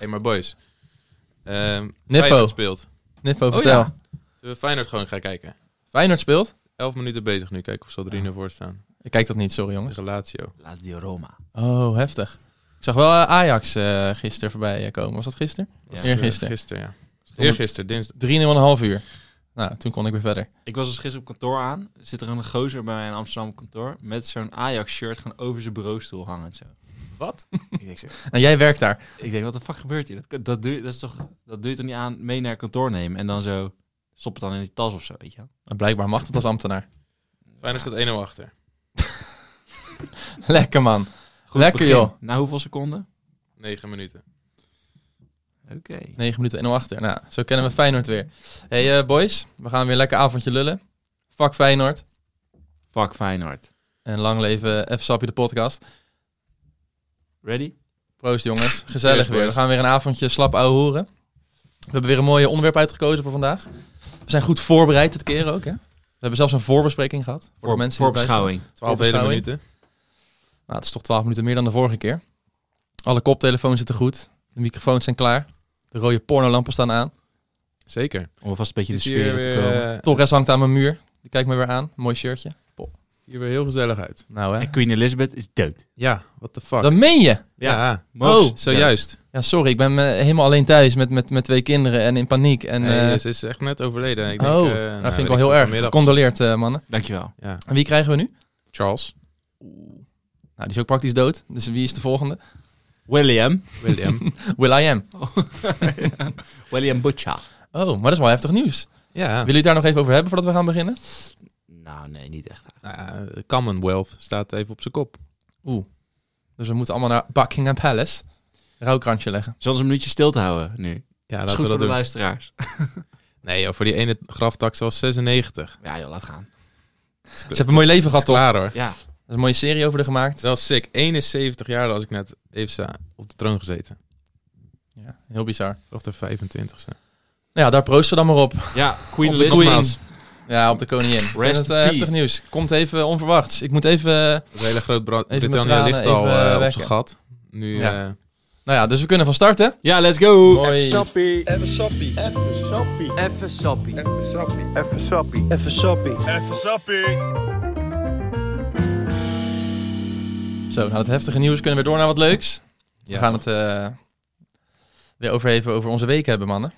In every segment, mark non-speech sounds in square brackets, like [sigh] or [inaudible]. hey, maar boys. Ehm Niffo. Feyenoord speelt. Niffo, Oh vertel. ja. Zullen we Feyenoord gewoon gaan kijken? Feyenoord speelt? Elf minuten bezig nu. Kijken of ze al 3-0 voor staan. Ik kijk dat niet, sorry jongens. Tegen Lazio. Lazio Roma. Oh, heftig. Ik zag wel eh, Ajax eh gisteren voorbij eh, komen. Was dat gisteren? Was, Ja. eh, Eergisteren. Gisteren, ja. Eergisteren, dinsdag. 3,5 half uur. Nou, toen kon ik weer verder. Ik was dus gisteren op kantoor aan. Zit er een gozer bij mij in Amsterdam op kantoor. Met zo'n Ajax-shirt gewoon over zijn bureaustoel hangen en zo. Wat? [laughs] ik, denk, zo- En jij werkt daar. ik denk, wat de fuck gebeurt hier? Dat, dat, doe, je- dat, is toch, dat doe je toch niet aan mee naar kantoor nemen en dan zo stop het dan in die tas of zo, weet je wel? En Nou, blijkbaar mag dat als ambtenaar. [laughs] Feyenoord staat 1-0 achter. Lekker man. Goed Lekker, begin. joh. Na hoeveel seconden? 9 minuten. Oké. 9 minuten 1-0 achter. Nou, zo kennen we Feyenoord weer. Hey eh, boys, we gaan weer lekker avondje lullen. Fuck Feyenoord. Fuck Feyenoord. En lang leven F Sappie de podcast. Ready? Proost jongens. Gezellig Cheers, weer. We boys. gaan weer een avondje slap ouwe horen. We hebben weer een mooi onderwerp uitgekozen voor vandaag. We zijn goed voorbereid dit keer ook hè. We hebben zelfs een voorbespreking gehad. Voor, de Voor, mensen die erbij zijn. voorbeschouwing. 12 hele Voorbeschouwing. minuten. Nou, het is toch 12 minuten meer dan de vorige keer. Alle koptelefoons zitten goed. De microfoons zijn klaar. De rode pornolampen staan aan. Zeker. Om alvast een beetje in de Ziet hier sfeer in te weer, komen. eh, Torres hangt aan mijn muur. Die kijkt me weer aan. Mooi shirtje. hier weer heel gezellig uit. Nou hè. En Queen Elizabeth is dood. Ja, what the fuck. Dat meen je? Oh, ja, Moos. oh, zojuist. Ja, sorry. Ik ben eh, helemaal alleen thuis met, met, met twee kinderen en in paniek. En, Nee, eh, ze is echt net overleden. Ik denk, oh, eh, dat nou, vind ik weet wel heel veel, erg. vanmiddag. Gecondoleerd eh, mannen. Dankjewel. Ja, En wie krijgen we nu? Charles, Nou, die is ook praktisch dood. Dus wie is de volgende? William. [laughs] William. Will I am. William Butcher. Oh, maar dat is wel heftig nieuws. Ah. ja, Willen jullie het daar nog even over hebben voordat we gaan beginnen? Nou, nee, niet echt. Nou, ja, Commonwealth staat even op zijn kop. Dus we moeten allemaal naar Buckingham Palace. Rouwkransje leggen. Zullen we een minuutje stil te houden nu? Ja, Dat is laten we goed voor dat de doen. luisteraars. Nee, joh, voor die ene graftax was 96. Ja joh, laat gaan. Ze hebben een mooi leven Dat is gehad, toch? Er klaar hoor. Ja, is een mooie serie over er gemaakt. Dat is sick. 71 jaar als ik net even sta op de troon gezeten. Ja, heel bizar. Of de 25ste. Nou ja, daar proosten we dan maar op. ja Queen Op de Elizabeth. Queen. Ja, op de koningin. Ik vind het in eh, peace. heftig nieuws. Komt even onverwachts. Ik moet even... eh, Het hele groot Bra- met Britannia tranen ligt al even, eh, eh, op wekken. zijn gat. Nu, Ja. eh, Nou ja, dus we kunnen van start, hè? Ja, let's go. Mooi. Zo, nou het heftige nieuws kunnen we door naar wat leuks. Ja, we gaan het eh, weer over even over onze week hebben, mannen.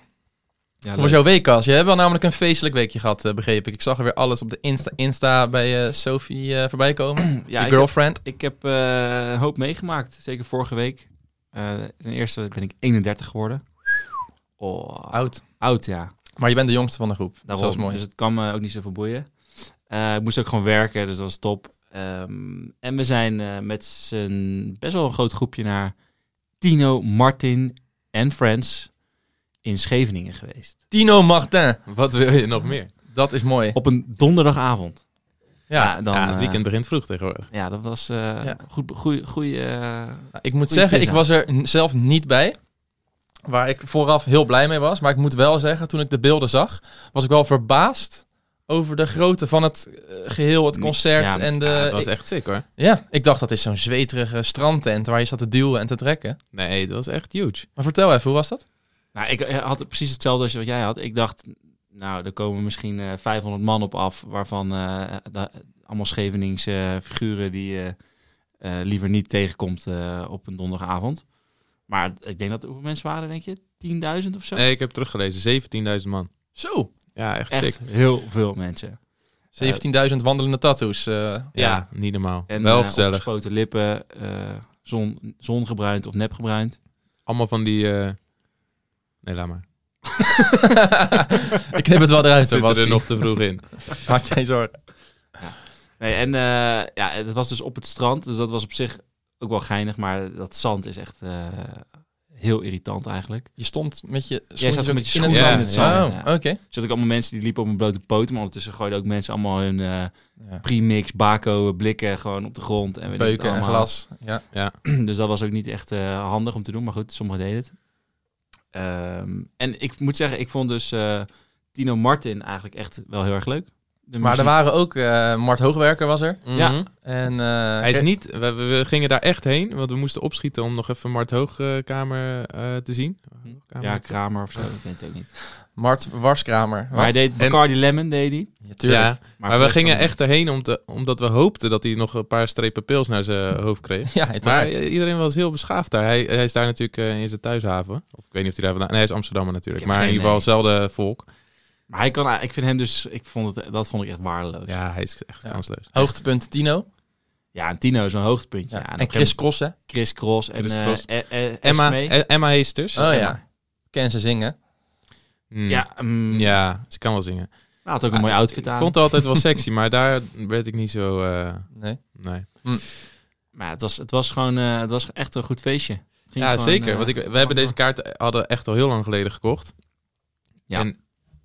Ja, Hoe was leuk. jouw week, Cas? Je hebt wel namelijk een feestelijk weekje gehad, eh, begreep ik. Ik zag er weer alles op de Insta, Insta bij eh, Sophie eh, voorbij komen. [clears throat] ja, je ik girlfriend. heb, ik heb, eh, een hoop meegemaakt. Zeker vorige week. Eh, ten eerste ben ik 31 geworden. Oh, Oud. oud ja. Maar je bent de jongste van de groep. Daarom. Dat is mooi. Dus het kan me ook niet zoveel boeien. Eh, ik moest ook gewoon werken, dus dat was top. Ehm, en we zijn eh, met z'n best wel een groot groepje naar Tino, Martin en Friends in Scheveningen geweest. Tino Martin. wat wil je nog meer? Dat is mooi. Op een donderdagavond. Ja, dan, ja, het eh, weekend begint vroeg tegenwoordig. ja dat was eh Ja. goed, goeie, goeie, eh, Nou, Ik moet Goeie zeggen, quiz ik aan. was er n- zelf niet bij. Waar ik vooraf heel blij mee was. Maar ik moet wel zeggen, toen ik de beelden zag, was ik wel verbaasd over de grootte van het eh, geheel, het Ja, concert. maar- en de, Ja, het was ik, echt sick hoor. ja, ik dacht dat is zo'n zweterige strandtent waar je zat te duwen en te trekken. Nee, het was echt huge. Maar vertel even, hoe was dat? Nou, ik eh, had precies hetzelfde als wat jij had. Ik dacht, nou, er komen misschien eh, 500 man op af, waarvan eh, da- allemaal Scheveningse eh, figuren die je eh, liever niet tegenkomt eh, op een donderdagavond. Maar ik denk dat er hoeveel mensen waren, denk je? 10.000 of zo? Nee, ik heb teruggelezen. 17.000 man. Zo, Ja, echt, Echt sick. heel veel mensen. 17.000 wandelende tattoos. eh. [laughs] Ja, niet normaal. En Wel eh, gezellig. opgespoten lippen, eh, zon, zongebruind of nepgebruind. Allemaal van die... eh, Nee, laat maar. ik knip het wel eruit. hoor, Zitten er Bassie. nog te vroeg in. [laughs] Maak je geen zorgen. Nee, en eh, ja, het was dus op het strand, dus dat was op zich ook wel geinig, maar dat zand is echt eh, heel irritant eigenlijk. Je stond met je Jij zat schoentjes met je ook schoenen in in het het zand. zand, Oh, ja. oké. Er zaten ook allemaal mensen die liepen op een blote poot. Maar ondertussen gooiden ook mensen allemaal hun eh Ja. premix, bako, blikken gewoon op de grond. En weet ik het Beuken en allemaal. glas. Ja. [clears throat] Dus dat was ook niet echt eh, handig om te doen. Maar goed, sommigen deden het. Ehm, en ik moet zeggen, ik vond dus eh, Tino Martin eigenlijk echt wel heel erg leuk. de Maar er muziek. waren ook, eh, Mart Hoogwerker was er. Mhm. Ja. En, eh, Hij is Ge- niet, we, we- we gingen daar echt heen, want we moesten opschieten om nog even Mart Hoogkamer eh te zien. Hoogkamer. Ja, Kramer of zo, ik weet het ook niet. Mart Warskramer. Maar hij deed Bacardi Lemon, deed hij. Ja, tuurlijk. ja, maar we verder gingen dan- echt erheen om te, omdat we hoopten dat hij nog een paar strepen pils naar zijn hoofd kreeg. [laughs] Ja, Maar uiteraard. eh, iedereen was heel beschaafd daar. Hij, hij is daar natuurlijk eh, in zijn thuishaven. Of ik weet niet of hij daar vandaan... Nee, hij is Amsterdammer natuurlijk. Ik heb Maar in geen ieder geval hetzelfde volk. Maar hij kan, ik vind hem dus, ik vond het, dat vond ik echt waardeloos. Ja, Ja, hij is echt Ja. kansloos. Hoogtepunt Tino. en Tino is een hoogtepuntje. Ja. Ja, Oh, en Chris Cross, hè? Chris Cross en Chris eh, Cross. eh, eh, Emma, Esmee. eh, Emma Heesters. Oh ja. Ken ze zingen. Hmm. Ja, mm, Ja, ze kan wel zingen. Ah, nou, had ook een mooi outfit Ik aan. vond het altijd wel sexy, maar daar werd ik niet zo... eh, Nee. nee. Maar het was, het was gewoon eh, het was echt een goed feestje. Het ging Ja, gewoon, zeker. eh, want ik, we hebben deze kaart hadden echt al heel lang geleden gekocht. Ja. En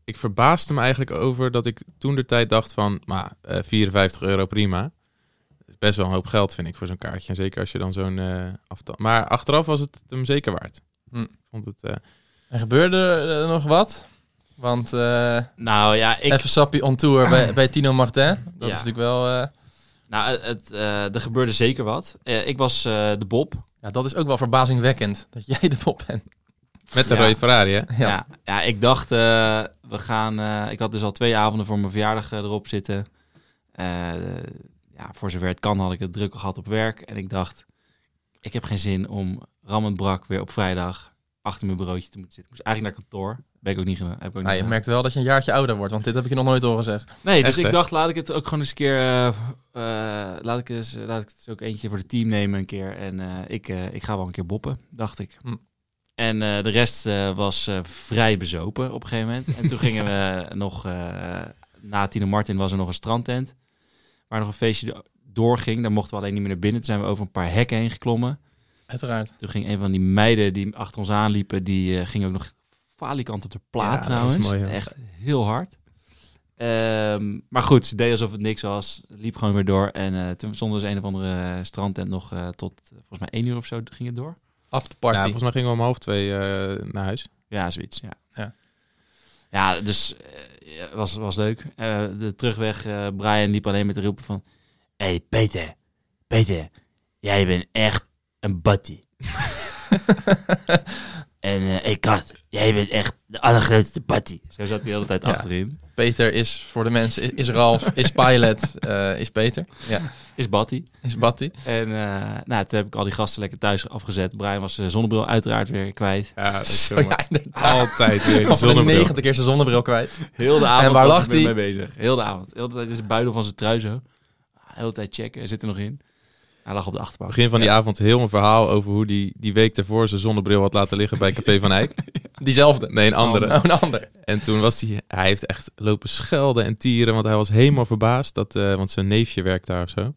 ik verbaasde me eigenlijk over dat ik toen de tijd dacht van... Maar, eh, 54 euro, prima. Dat is best wel een hoop geld, vind ik, voor zo'n kaartje. En zeker als je dan zo'n eh aftal... Maar achteraf was het hem zeker waard. Hm. Ik Vond het, eh, En gebeurde er nog wat? Want eh Nou ja, ik, even sappie on tour bij, bij Tino Martin. Dat is natuurlijk wel... eh, nou, het- het, eh, er gebeurde zeker wat. Eh, ik was eh, de Bob. ja, dat is ook wel verbazingwekkend. Dat jij [laughs] de pop bent. met de Ja. rode Ferrari, hè? Ja. Ja. Ja, ik dacht, eh, we gaan. eh, ik had dus al twee avonden voor mijn verjaardag eh, erop zitten. Eh, ja, voor zover het kan had ik het druk gehad op werk. En ik dacht, ik heb geen zin om rammend brak weer op vrijdag achter mijn bureautje te moeten zitten. Ik moest eigenlijk naar kantoor. Ben ik ook niet gedaan. Heb ik ook niet Nou, je gedaan. merkt wel dat je een jaartje ouder wordt. Want dit heb ik je nog nooit horen zeggen. Nee, dus Echt, hè? ik dacht, laat ik het ook gewoon eens een keer. eh, eh, laat, ik eens, laat ik het ook eentje voor het team nemen een keer. En eh, ik, eh, ik ga wel een keer boppen, dacht ik. Hm. En eh, de rest eh, was eh, vrij bezopen op een gegeven moment. En toen gingen we [laughs] nog. eh, na Tino Martin was er nog een strandtent. Waar nog een feestje do- doorging. Daar mochten we alleen niet meer naar binnen. Toen zijn we over een paar hekken heen geklommen. Uiteraard. Toen ging een van die meiden die achter ons aanliepen. Die eh, ging ook nog falikant op de plaat Ja, dat is trouwens. mooi, hoor. Echt heel hard. Ehm, maar goed, ze deed alsof het niks was. Liep gewoon weer door. En eh, toen stond dus een of andere eh, strandtent nog eh, tot eh, volgens mij één uur of zo ging het Ja, door. Afterparty. volgens mij gingen we om half twee eh, naar [laughs] huis. Ja, zoiets. Ja, Ja. Ja, dus eh, ja, was, was leuk. Eh, de terugweg, eh, Brian liep alleen met de roepen van... Hé, hey, Peter. Peter. Jij bent echt een batty. [laughs] en eh hey, Kat. Jij bent echt de allergrootste batty. Zo zat hij de hele tijd Ja. achterin. Peter is voor de mensen, is, is Ralf, is Pilot, [laughs] eh, is Peter, Is batty. is Batty. En eh, nou, toen heb ik al die gasten lekker thuis afgezet. Brian was zijn zonnebril uiteraard weer kwijt. Ja, dat is zo [laughs] Zo, mooi. ja, inderdaad. Altijd [laughs] weer die Al voor de zonnebril. negende keer zijn zonnebril kwijt. Heel de avond En waar was lag ik met die? mee bezig. Heel de avond. Heel de tijd is het buidel van zijn trui zo. Heel de tijd checken. Hij Zit er nog in. Hij lag op de achterbank. Begin van die avond heel een verhaal over hoe die, die week daarvoor zijn zonnebril had laten liggen bij Café van Eyck. Diezelfde. Nee, een andere. Oh, een ander. En toen was hij, hij heeft echt lopen schelden en tieren, want hij was helemaal verbaasd. Dat, eh, want zijn neefje werkt daar of zo.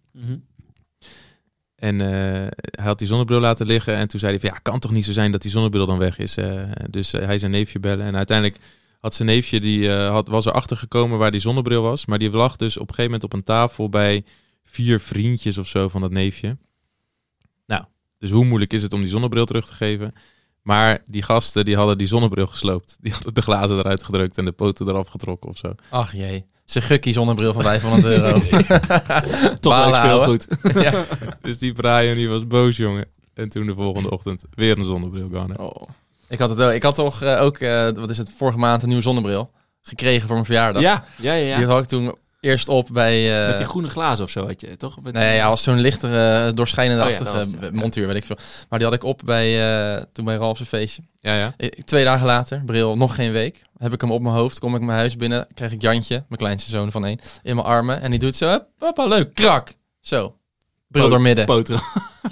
En eh, hij had die zonnebril laten liggen en toen zei hij van, ja, kan toch niet zo zijn dat die zonnebril dan weg is. eh. dus eh, hij zijn neefje bellen en uiteindelijk had zijn neefje, die eh, had, was erachter gekomen waar die zonnebril was. Maar die lag dus op een gegeven moment op een tafel bij vier vriendjes of zo van dat neefje. Nou, dus hoe moeilijk is het om die zonnebril terug te geven? Maar die gasten die hadden die zonnebril gesloopt. Die hadden de glazen eruit gedrukt en de poten eraf getrokken of zo. Ach jee. Zijn gukkie zonnebril van 500 euro. Toch wel Balen ik speel houden. goed. [laughs] Dus die Brian die was boos, jongen. En toen de volgende ochtend weer een zonnebril gone. Oh. Ik had het wel. Ik had toch eh, ook, eh, wat is het, vorige maand een nieuwe zonnebril gekregen voor mijn verjaardag. Ja, ja, ja. Die had ik toen eerst op bij... eh, Met die groene glazen of zo had je, toch? Met Nee, ja, als zo'n lichtere, eh, doorschijnende Oh ja, achtige dat was het, ja. montuur, weet ik veel. Maar die had ik op bij, eh, toen bij Ralf's feestje. Ja, ja. Ik- Twee dagen later, bril, nog geen week. Heb ik hem op mijn hoofd, kom ik mijn huis binnen, krijg ik Jantje, mijn kleinste zoon van één, in mijn armen. En die doet zo, "Hup, papa, leuk, krak. Zo, bril Po- door midden. poten.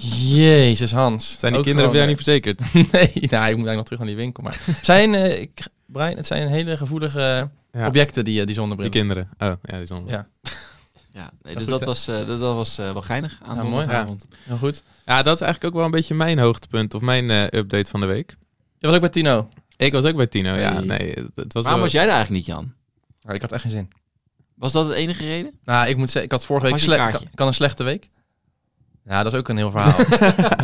Jezus, Hans. Oh, Zijn die Ook kinderen bij jou gewoon, niet verzekerd? [laughs] eh, Nee, nou, ik moet eigenlijk nog terug naar die winkel. Maar [laughs] zijn, eh, ik, Brian, het zijn hele gevoelige Ja. objecten, die, eh, die Die zonnebril. kinderen. Oh, ja, die zonnebril. Ja. Ja, nee, dus dat was, eh, dat, dat was eh, wel geinig aan Ja, de mooi. donderdagavond. Heel goed. Ja, dat is eigenlijk ook wel een beetje mijn hoogtepunt of mijn eh, update van de week. Je was ook bij Tino. Ik was ook bij Tino. Ja, Hey. nee, het, het was Waarom wel- was jij daar eigenlijk niet, Jan? Nou, ik had echt geen zin. Was dat de enige reden? Nou, ik moet zeggen, ik had vorige Had week je slecht. kaartje? kan- Kan een slechte week? Ja, dat is ook een heel [laughs] verhaal.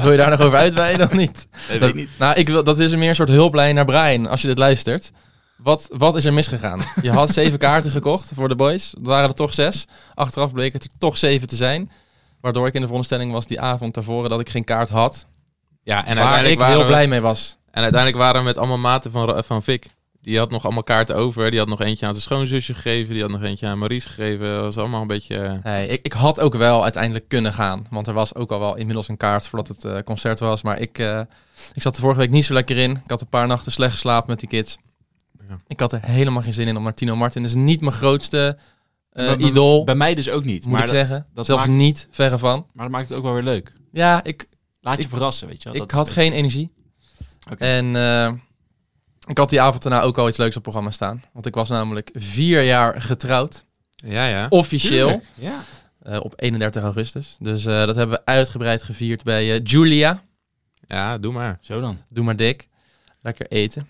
wil je daar nog over uitweiden of niet? Dat Dat- Nou, ik wil, dat is meer een soort hulplijn naar Brian als je dit luistert. Wat, wat is er misgegaan? Je had [laughs] zeven kaarten gekocht voor de boys. Het waren er toch zes. Achteraf bleek het er toch zeven te zijn. Waardoor ik in de veronderstelling was die avond daarvoor dat ik geen kaart had. Ja, en Waar ik uiteindelijk, waren heel we, blij mee was. en uiteindelijk waren we met allemaal maten van, Ra- van Vic. Die had nog allemaal kaarten over. Die had nog eentje aan zijn schoonzusje gegeven. Die had nog eentje aan Maries gegeven. Dat was allemaal een beetje... eh, Nee, ik, ik had ook wel uiteindelijk kunnen gaan. Want er was ook al wel inmiddels een kaart voordat het eh, concert was. Maar ik, eh, ik zat de vorige week niet zo lekker in. Ik had een paar nachten slecht geslapen met die kids. Ja. Ik had er helemaal geen zin in om naar Tino Martin. Dat is niet mijn grootste eh, Bij- bij- idool, Bij mij dus ook niet. moet Maar ik dat, zeggen. dat Zelfs maakt- niet, verre van. maar dat maakt het ook wel weer leuk. Ja, ik, Laat je Ik- verrassen, weet je wel. ik Dat had is- geen energie. Oké. En eh, ik had die avond daarna ook al iets leuks op het programma staan. Want ik was namelijk vier jaar [laughs] getrouwd. Ja, ja. Officieel. Tuurlijk. Ja. eh, op 31 augustus. Dus eh, dat hebben we uitgebreid gevierd bij eh, Julia. Ja, doe maar. [laughs] Zo dan. Doe maar dik. Lekker eten. [clears throat]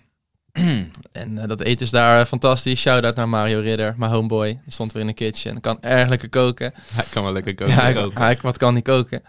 en eh, dat eten is daar eh, fantastisch. Shout-out naar Mario Ridder, mijn homeboy. Die stond weer in de kitchen. Kan erg lekker koken. Hij kan wel lekker koken. Ja, hij, koken. hij- wat kan niet koken.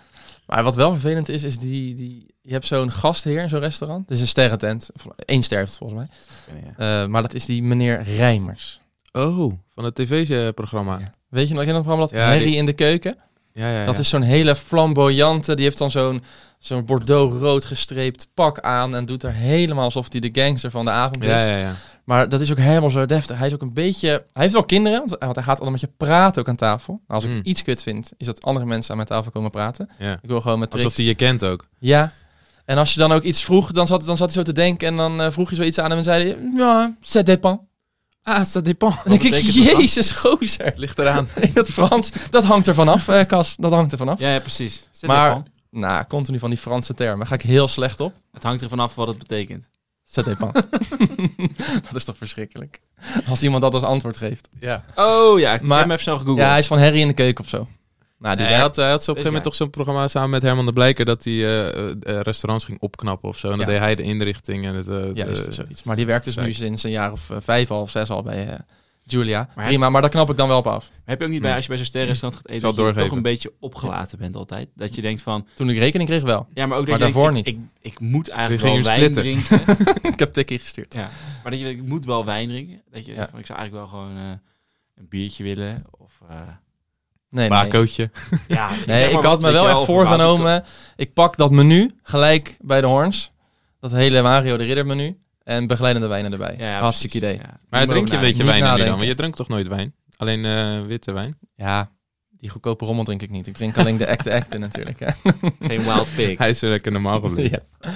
Maar wat wel vervelend is, is die... die je hebt zo'n gastheer in zo'n restaurant. Het is een sterrentent. Of één ster heeft het volgens mij. Eh, maar dat is die meneer Rijmers. Oh, van het tv-programma. Ja, Weet je nog in dat programma dat Ja, Harry die- in de keuken? ja, ja. Dat is zo'n hele flamboyante. Die heeft dan zo'n zo'n bordeaux-rood gestreept pak aan. En doet er helemaal alsof hij de gangster van de avond is. Ja, ja, ja. Maar dat is ook helemaal zo deftig. Hij is ook een beetje. Hij heeft wel kinderen, want, want hij gaat altijd met je praten ook aan tafel. Nou, Als ik Mm. iets kut vind, is dat andere mensen aan mijn tafel komen praten. ja. Ik wil gewoon met Alsof tricks. hij je kent ook. Ja. En als je dan ook iets vroeg, dan zat, dan zat hij zo te denken. En dan eh, vroeg je zoiets aan hem en zei hij: Ja, c'est dépend. Ah, ça dépend. En dan denk ik: [laughs] Jezus, gozer. [laughs] Ligt eraan. In dat Frans, dat hangt er vanaf, eh Kas. Dat hangt er vanaf. Ja, ja, precies. Zet Maar- maar... Nou, continu van die Franse termen. Daar ga ik heel slecht op. Het hangt er vanaf wat het betekent. Ça dépend. [laughs] dat is toch verschrikkelijk. Als iemand dat als antwoord geeft. Ja. Oh ja, ik Maar- heb hem even snel gegoogeld. Ja, hij is van Harry in de keuken of zo. Nou, die Nee, hij werkt- had, hij had zo op een gegeven Wees moment maar. toch zo'n programma samen met Herman de Blijker dat hij eh, eh, restaurants ging opknappen of zo. En dan Ja. deed hij de inrichting en het... eh, juist, de- zoiets. Maar die werkt dus nu Zeker. sinds een jaar of eh, vijf al of zes al bij eh, Julia. Maar- Prima, maar daar knap ik dan wel op af. Maar heb je ook niet bij, als je bij zo'n sterrenrestaurant gaat eten, Zal dat je toch doorgeven. een beetje opgelaten bent altijd. Dat je denkt van, Toen ik rekening kreeg wel. ja, maar ook Maar dat je daarvoor denkt, ik, Ik, ik moet eigenlijk wel Jullie wijn gingen [laughs] drinken. ik heb tikkie gestuurd. Ja, maar dat je denkt, ik moet wel wijn drinken. Dat je Ja. zegt van, ik zou eigenlijk wel gewoon eh, een biertje willen. Of, eh, Nee, nee. Bakootje. ja, Nee, ik had me wel echt voorgenomen. Ik pak dat menu gelijk bij de Horns. Dat hele Mario de Ridder menu. En begeleidende wijnen erbij. Hartstikke idee. Maar drink je een beetje Niet wijn dan nu dan? nadenken. Want je drinkt toch nooit wijn? Alleen eh, witte wijn? Ja, die goedkope rommel drink ik niet. Ik drink alleen de acte acte natuurlijk. [laughs] Hè. Geen wild [laughs] pig. Hij is er lekker normaal gebleven. Ja.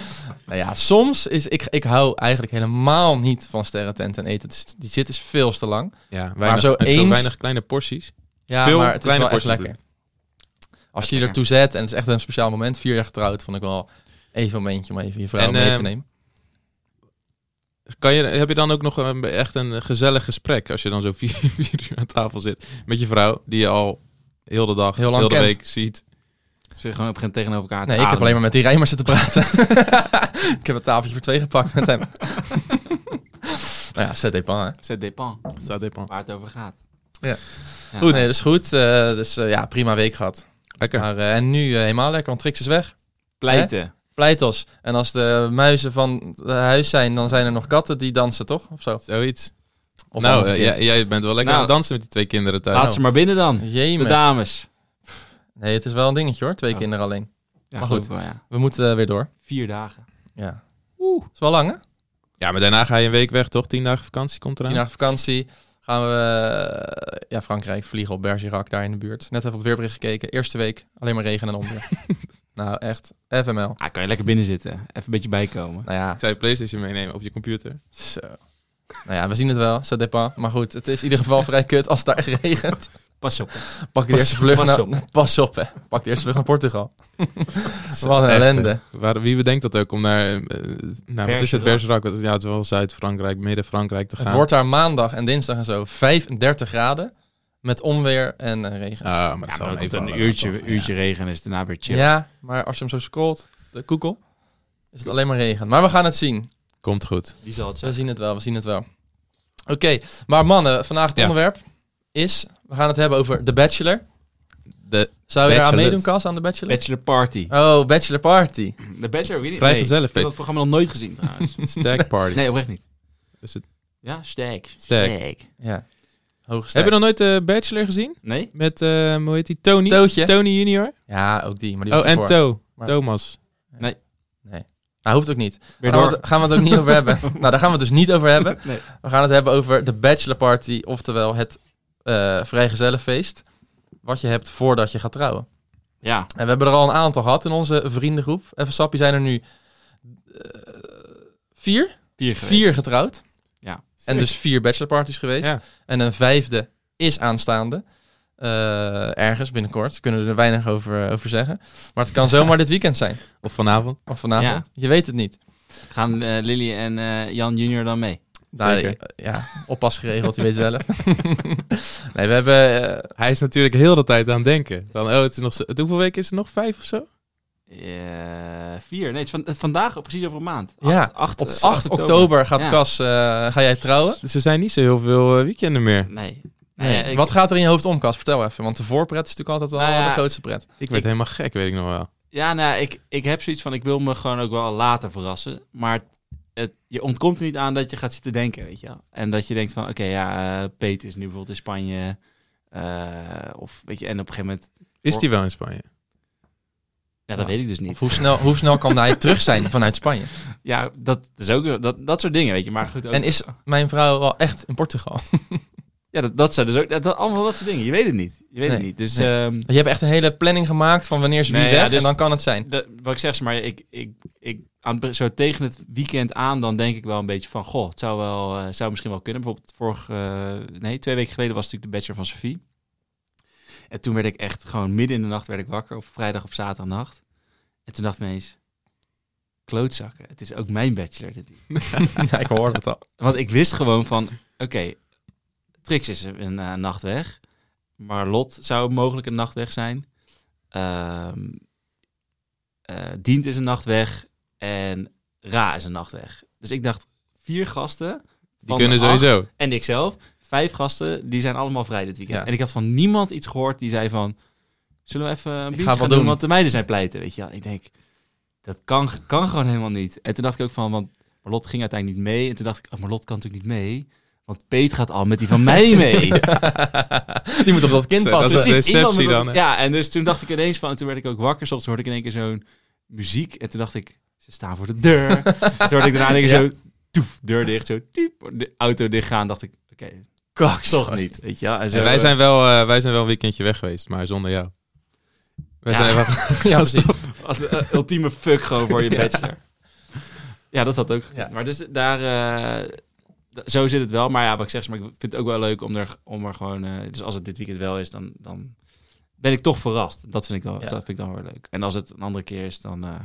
Nou ja, soms is ik, ik hou eigenlijk helemaal niet van sterrententen en eten. Het is- die zit is veel te lang. Ja, weinig, Maar zo zo eens- weinig kleine porties. Ja, Veel maar het is kleine wel echt porties lekker. Als je je ertoe zet en het is echt een speciaal moment, vier jaar getrouwd, vond ik wel even een momentje om even je vrouw En, mee te ehm, nemen. Kan je, heb je dan ook nog een, echt een gezellig gesprek als je dan zo vier, [laughs] vier uur aan tafel zit met je vrouw die je al heel de dag, Heel lang heel de kent. week ziet? Ze gewoon op geen tegenover elkaar te Nee, ik heb ademen. alleen maar met die Rijmer zitten praten. [laughs] ik heb een tafeltje voor twee gepakt [laughs] met hem. nou ja, zet even aan. C'est dépend Ça dépend. waar het over gaat. Goed. Goed. Nee, dat is goed. Eh, dus eh, ja, prima week gehad. Lekker. Maar, eh, en nu eh, helemaal lekker, want Trix is weg. Pleiten. Pleitos. En als de muizen van het huis zijn, dan zijn er nog katten die dansen, toch? Of zo. Zoiets. Of nou, anderskind. eh, jij, jij bent wel lekker Nou, aan het dansen met die twee kinderen Nou. thuis. Laat ze maar binnen dan. De Jemig. dames. Nee, het is wel een dingetje hoor. Twee Ja. kinderen alleen. Ja, Maar goed. geloof ik wel, ja. We moeten eh, weer door. Vier dagen. Ja. Oeh. Is wel lang, hè? Ja, maar daarna ga je een week weg, toch? Tien dagen vakantie komt eraan. Tien dagen vakantie. Gaan we eh, ja, Frankrijk vliegen op Bergerac, daar in de buurt. Net even op het weerbericht gekeken. Eerste week alleen maar regen en onweer. nou, echt. FML. Ah, kan je lekker binnen zitten. Even een beetje bijkomen. Nou ja, Ik zou je PlayStation meenemen op je computer. zo. Nou ja, we zien het wel. Ça dépend. Maar goed, het is in ieder geval vrij kut als het daar [laughs] echt regent. Pas op. Pak de Pas- eerste vlucht nou- pas naar... op. Pas op, hè. Pak de eerste vlucht naar [laughs] Portugal. Wat een Echt, ellende. eh, Waar, wie bedenkt dat ook om naar, eh, nou, wat is het, Bergerac. Bergerac? Wat- Ja, het is wel Zuid-Frankrijk, midden-Frankrijk te gaan. Het wordt daar maandag en dinsdag en zo 35 graden. Met onweer en eh, regen. Ah, maar dat Ja, zal maar dan even komt een wel- uurtje, uurtje regen en is het daarna weer chill. Ja, maar als je hem zo scrolt, de koekel, is het alleen maar regen. Maar we gaan het zien. Komt goed. Wie zal het We zeggen? zien het wel, we zien het wel. Oké, maar mannen, vandaag het Ja. onderwerp is... We gaan het hebben over The Bachelor. De [laughs] Zou je daar aan Bachelors. meedoen, Cas, aan The Bachelor? Bachelor Party. oh, Bachelor Party. De Bachelor, weet je niet? Vrijgezellig, ik heb Pete. dat programma nog nooit gezien trouwens. stag party. nee, oprecht niet. Is het Ja, sterk. Sterk. Ja. Hoge Heb je nog nooit de Bachelor gezien? Nee? Met, eh, hoe heet die, Tony? Tootje. Tony junior. Ja, ook die. Maar die Oh, hoeft en ervoor. To. Maar- Thomas. Nou, hoeft ook niet. Weer Gaan we, door. het, gaan we het ook niet over [laughs] hebben. Nou, daar gaan we het dus niet over hebben. Nee. We gaan het hebben over de bachelor party, oftewel het eh vrijgezellenfeest. Wat je hebt voordat je gaat trouwen. Ja. En we hebben er al een aantal gehad in onze vriendengroep. Even sappie zijn er nu eh, vier. Vier Vier getrouwd. En dus vier bachelorparties geweest. Ja. En een vijfde is aanstaande. Eh, ergens binnenkort. Kunnen we er weinig over, eh, over zeggen. Maar [laughs] het kan zomaar dit weekend zijn. Of vanavond. Of vanavond. Je weet het niet. Gaan eh, Lily en eh, Jan Junior dan mee? Nou, Zeker. eh, ja, oppas geregeld. Je weet het [laughs] zelf. nee, we hebben... eh, Hij is natuurlijk heel de tijd aan het denken. Dan, oh, het is nog zo, het- hoeveel weken is het nog? Vijf of zo? Eh, vier. Nee, het is van, eh, vandaag al precies over een maand. Acht- ja, acht, op eh, 8 oktober, gaat Ja. Cas... eh, ga jij trouwen? Dus er zijn niet zo heel veel eh, weekenden meer. Nee. Nou Nee. ja, ik- Wat gaat er in je hoofd om, Cas? Vertel even. Want de voorpret is natuurlijk altijd al Nou ja, de grootste pret. Ik werd helemaal gek, weet ik nog wel. Ja, nou, ik, ik heb zoiets van, ik wil me gewoon ook wel later verrassen. Maar het, je ontkomt er niet aan dat je gaat zitten denken, weet je wel. En dat je denkt van, oké, ja, eh Peet is nu bijvoorbeeld in Spanje. eh, of weet je, en op een gegeven moment, Is die wel in Spanje? ja, dat weet ik dus Of niet. hoe snel, hoe snel kan hij terug zijn vanuit Spanje? Ja, dat is ook, dat, [laughs] dat soort dingen, weet je. Maar goed, ook, En is mijn vrouw wel echt in Portugal? ja, dat, dat zijn dus ook, dat, dat- allemaal dat soort dingen. Je weet het niet, je weet het Nee, niet. Dus, nee. ehm, Je hebt echt een hele planning gemaakt van wanneer ze wie Nee, weg ja, dus- en dan kan het [laughs] zijn. dat- wat ik zeg, zeg maar ik, ik, ik, aan, het be- zo tegen het weekend aan, dan denk ik wel een beetje van, goh, het zou, wel, eh, zou misschien wel kunnen. Bijvoorbeeld vorige, eh, nee, twee weken geleden was natuurlijk de Bachelor van Sophie. En toen werd ik echt gewoon midden in de nacht werd ik wakker, op vrijdag op zaterdagnacht. En toen dacht ik ineens, klootzakken, het is ook mijn Bachelor dit weekend. ja, ik hoor het al. Want ik wist gewoon van, oké, Trix is een eh, nacht weg. Maar Lot zou mogelijk een nacht weg zijn. Ehm, eh, Dient is een nacht weg. En Ra is een nacht weg. Dus ik dacht, vier gasten. Die van kunnen de acht sowieso. En ikzelf. Vijf gasten, die zijn allemaal vrij dit weekend. Ja. En ik had van niemand iets gehoord die zei van... Zullen we even een biertje wel gaan doen. doen, want de meiden zijn pleiten, weet je wel. Ik denk, dat kan, kan gewoon helemaal niet. En toen dacht ik ook van, want Marlot ging uiteindelijk niet mee. En toen dacht ik, oh, Marlot kan natuurlijk niet mee. Want Peet gaat al met die van mij mee. Die moet op dat kind Zo, passen. dat is- Precies, receptie iemand met dan, dat- hè? Ja, en dus toen dacht ik ineens van... En toen werd ik ook wakker. Soms hoorde ik in één keer zo'n muziek. En toen dacht ik, ze staan voor de deur. [laughs] En toen hoorde ik daarna in één keer Ja. zo... Toef, deur dicht, zo diep, de auto dichtgaan. dacht ik, oké, Kaks. toch niet, weet je wel. En zo, Ja, wij, zijn wel, eh, wij zijn wel een weekendje weg geweest, maar zonder jou. Wij Ja. zijn [laughs] even... Ja, precies. eh, als de, eh, ultieme fuck gewoon voor je [laughs] Ja. bachelor. Ja, dat had ook. Ja. Maar dus daar... eh, d- zo zit het wel. Maar ja, wat ik zeg, maar ik vind het ook wel leuk om er, om er gewoon... eh, dus als het dit weekend wel is, dan, dan ben ik toch verrast. Dat vind ik, wel, Ja. dat vind ik dan wel leuk. En als het een andere keer is, dan... eh,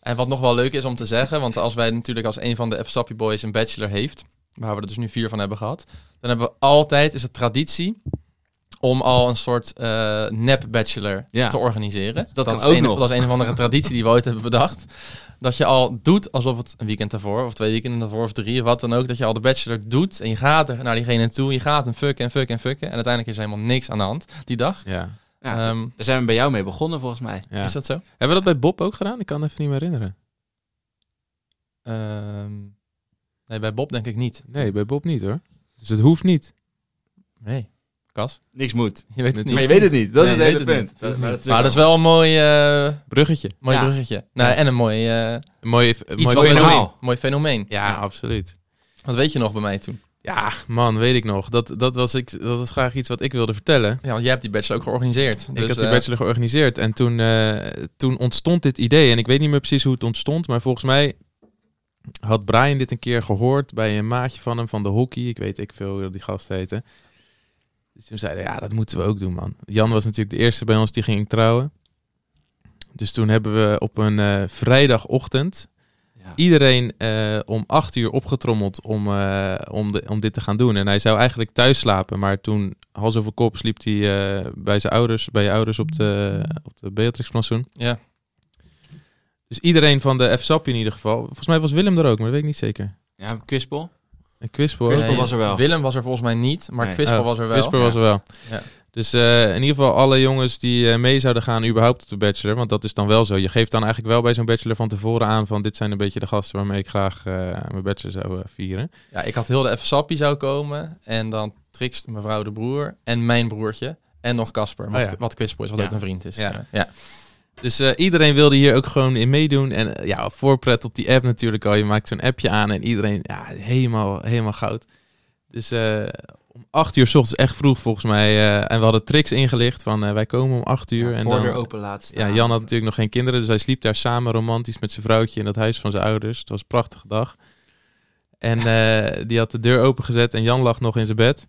En wat nog wel leuk is om te zeggen, want als wij natuurlijk als een van de F-Sappie Boys een bachelor heeft, waar we er dus nu vier van hebben gehad, dan hebben we altijd, is het traditie, om al een soort eh nep-bachelor Ja. te organiseren. Dat kan is ook een, nog. Dat is een of [laughs] andere traditie die we ooit hebben bedacht. Dat je al doet alsof het een weekend daarvoor, of twee weekenden daarvoor, of drie, of wat dan ook, dat je al de bachelor doet en je gaat er naar diegene toe, je gaat hem fucken en fucken en fucken en uiteindelijk is er helemaal niks aan de hand die dag. ja. ja, Ehm, Daar zijn we bij jou mee begonnen, volgens mij. Ja. Is dat zo? Hebben we dat bij Bob ook gedaan? Ik kan het even niet meer herinneren. Ehm, nee, bij Bob denk ik niet. Nee, bij Bob niet hoor. Dus het hoeft niet. Nee. Kas, Niks moet. je weet het niet. Maar je weet het niet. Dat is Nee, je het hele weet het punt. Dat, maar dat is Maar ook dat is wel een mooi, eh, Bruggetje. mooi Ja. bruggetje. Nou, Ja. En een mooi, eh, Een mooi, een iets mooi wat we fenomeen. normaal- doen. mooi fenomeen. Ja, absoluut. Wat weet je nog bij mij toen? Ja, man, weet ik nog. Dat, dat, was ik, dat was graag iets wat ik wilde vertellen. Ja, want jij hebt die bachelor ook georganiseerd. ik had die eh, bachelor georganiseerd en toen, eh, toen ontstond dit idee. En ik weet niet meer precies hoe het ontstond, maar volgens mij had Brian dit een keer gehoord bij een maatje van hem van de hockey. Ik weet ik veel hoe die gast heette. Dus toen zeiden we, ja, dat moeten we ook doen, man. Jan was natuurlijk de eerste bij ons die ging trouwen. Dus toen hebben we op een eh, vrijdagochtend Ja. iedereen eh, om acht uur opgetrommeld om, eh, om, de, om dit te gaan doen. En hij zou eigenlijk thuis slapen, maar toen hals over kop sliep hij eh, bij zijn ouders, bij je ouders op de, op de Beatrixplantsoen. Ja. Dus iedereen van de FSAP in ieder geval. Volgens mij was Willem er ook, maar dat weet ik niet zeker. Ja, Quispel. En Quispel. ook. Quispel was er wel. Willem was er volgens mij niet, maar Nee. Quispel Oh, was er wel. Wisper was er wel. Ja. Dus eh, in ieder geval alle jongens die eh, mee zouden gaan überhaupt op de bachelor. Want dat is dan wel zo. Je geeft dan eigenlijk wel bij zo'n bachelor van tevoren aan van dit zijn een beetje de gasten waarmee ik graag eh, mijn bachelor zou eh, vieren. Ja, ik had heel de F-Sappie zou komen. En dan Trix, mevrouw de broer. En mijn broertje. En nog Casper, wat, Oh ja. wat quizboy is, wat Ja. ook een vriend is. Ja. Ja. Dus eh, iedereen wilde hier ook gewoon in meedoen. En eh, ja, voorpret op die app natuurlijk al. Je maakt zo'n appje aan en iedereen ja, helemaal, helemaal goud. Dus eh, om acht uur s ochtends, echt vroeg volgens mij. eh, en we hadden Trix ingelicht van eh, wij komen om acht uur. en dan, voordeur open laten staan. Ja, Jan had natuurlijk nog geen kinderen, dus hij sliep daar samen romantisch met zijn vrouwtje in het huis van zijn ouders. Het was een prachtige dag. [laughs] En eh, die had de deur opengezet en Jan lag nog in zijn bed.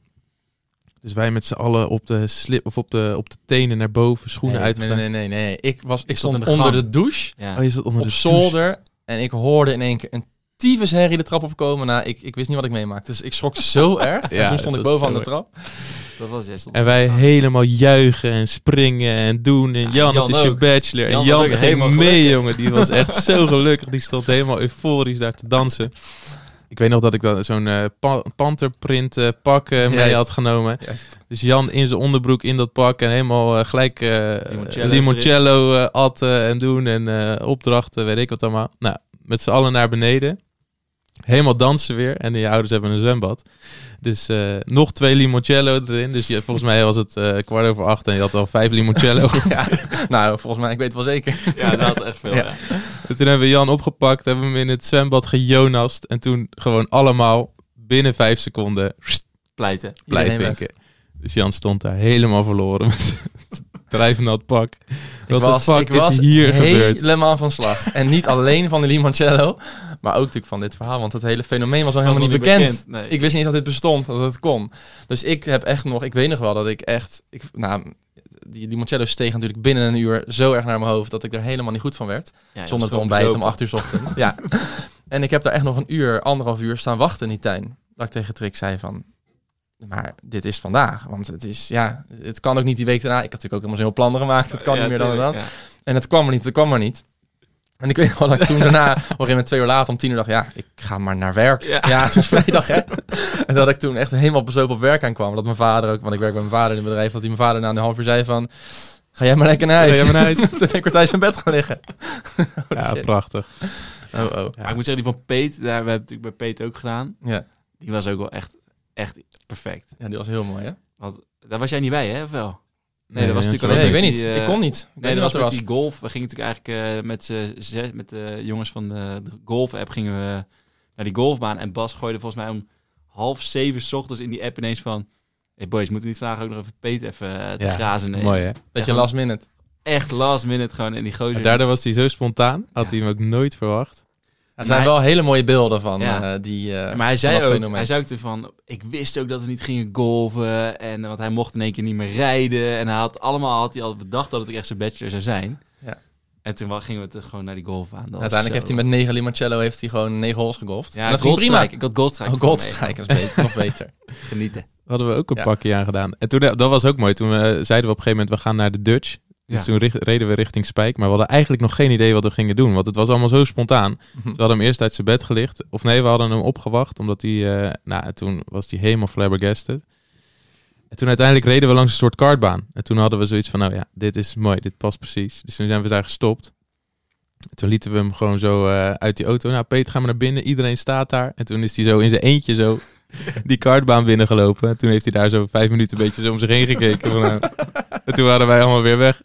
Dus wij met z'n allen op de, slip, of op de, op de tenen naar boven, schoenen Nee, uitgedaan. nee, nee, nee, nee. Ik, was, ik zat in stond de onder gang. de douche. Ja. Oh, je zat onder op de douche. zolder. En ik hoorde in één keer een tyfus herrie de trap opkomen. Nou, ik, ik wist niet wat ik meemaakte. Dus ik schrok [laughs] zo erg. Ja, En toen stond ik dat is boven aan zo de trap. [laughs] Dat was eerst. En wij helemaal juichen en springen en doen. En Ja, Jan, Jan het is je ook. bachelor. Jan en was Jan ook ging helemaal mee, gelukkig. jongen. Die was [laughs] echt zo gelukkig. Die stond helemaal euforisch daar te dansen. Ik weet nog dat ik dan zo'n eh, pa- panterprint eh, pak eh, mee Juist. had genomen. Juist. Dus Jan in zijn onderbroek in dat pak en helemaal eh, gelijk eh, Limoncello's limoncello eh, atten en doen en eh, opdrachten, weet ik wat allemaal. Nou, met z'n allen naar beneden. Helemaal dansen weer. En die ouders hebben een zwembad. Dus eh, nog twee limoncello erin. Dus je, volgens mij was het eh, kwart over acht en je had al vijf [laughs] limoncello. Ja. Nou, volgens mij, ik weet het wel zeker. Ja, dat was echt veel. Ja. ja. En toen hebben we Jan opgepakt, hebben hem in het zwembad gejonast. En toen gewoon allemaal binnen vijf seconden Pleiten. blijft Iedereen winken. Dus Jan stond daar helemaal verloren met het [laughs] drijfnat pak. Wat de fuck is hier gebeurd? helemaal van slag. En niet alleen van de limoncello, maar ook natuurlijk van dit verhaal. Want het hele fenomeen was al helemaal Was niet nog bekend. Nee. Ik wist niet eens dat dit bestond, dat het kon. Dus ik heb echt nog, ik weet nog wel dat ik echt, ik, nou, die limoncello steeg natuurlijk binnen een uur zo erg naar mijn hoofd dat ik er helemaal niet goed van werd. Ja, je zonder was te gewoon ontbijten om bezopen. acht uur 's [laughs] ochtends. ja. En ik heb daar echt nog een uur, anderhalf uur staan wachten in die tuin. Dat ik tegen Trix zei van, maar dit is vandaag. Want het is, ja, het kan ook niet die week daarna. Ik had natuurlijk ook helemaal zo'n heel plannen gemaakt. Het kan Ja, niet meer dan en dan. tuurlijk, ja. En het kwam er niet, het kwam er niet. En ik weet nog wel dat ik toen [laughs] daarna, op een gegeven moment twee uur later, om tien uur dacht, ja, ik ga maar naar werk. Ja. Ja, het [laughs] was vrijdag, hè. En dat ik toen echt helemaal bezopen op werk aankwam. Dat mijn vader ook, want ik werk bij mijn vader in een bedrijf, dat hij mijn vader na een half uur zei van, ga jij maar lekker naar huis. Ga Oh, jij maar [laughs] naar huis. [laughs] toen ben ik weer thuis in bed gaan liggen. Holy Ja, shit. prachtig. Oh, oh. Ja. Maar ik moet zeggen, die van Peet, daar we hebben het natuurlijk bij Peet ook gedaan. Ja. Die was ook wel echt, echt perfect. ja, die was heel mooi, hè? Daar was jij niet bij, hè, of wel? Nee, dat was ja, natuurlijk dat alleen Nee, ik met weet niet. die, eh, ik kon niet. Ik Nee, weet niet dat was met wat er was. die golf. We gingen natuurlijk eigenlijk eh, met, z'n zes, met de jongens van de, de golf-app gingen we naar die golfbaan. En Bas gooide volgens mij om half zeven 's ochtends in die app ineens van... Hey boys, moeten we niet vragen ook nog even Peet even eh, te Ja, grazen? Nee. Mooi hè? Beetje last minute. Echt last minute gewoon in die gozer. Maar daardoor was hij zo spontaan, had Ja. hij hem ook nooit verwacht. Er Maar zijn hij- wel hele mooie beelden van Ja. eh, die... eh, maar van hij zei, dat ook, fenomeen. hij zei ook ervan, ik wist ook dat we niet gingen golven. En, want hij mocht in één keer niet meer rijden. En hij had allemaal had hij al bedacht dat het echt zijn bachelor zou zijn. Ja. En toen wel- gingen we te- gewoon naar die golfbaan. Dat was uiteindelijk heeft zo- hij met negen limoncello heeft hij gewoon negen holes gegolfd. Ja, En dat ging prima. Goldstrike. Ik had Goldstrike. Oh, voor me Goldstrike is beter, nog [laughs] beter. meegenomen. Genieten. Hadden we ook een Ja. pakje aan gedaan. En toen, dat was ook mooi. Toen eh, zeiden we op een gegeven moment, we gaan naar de Dutch. Dus Ja. toen richt- reden we richting Spijk. Maar we hadden eigenlijk nog geen idee wat we gingen doen. Want het was allemaal zo spontaan. Dus we hadden hem eerst uit zijn bed gelicht. Of nee, we hadden hem opgewacht. Omdat hij... eh, nou, en toen was hij helemaal flabbergasted. En toen uiteindelijk reden we langs een soort kartbaan. En toen hadden we zoiets van, nou ja, dit is mooi. Dit past precies. Dus toen zijn we daar gestopt. En toen lieten we hem gewoon zo eh, uit die auto. Nou, Peet, ga maar naar binnen. Iedereen staat daar. En toen is hij zo in zijn eentje zo die kartbaan binnengelopen. En toen heeft hij daar zo vijf minuten een beetje zo om zich heen gekeken. Van, nou, en toen waren wij allemaal weer weg.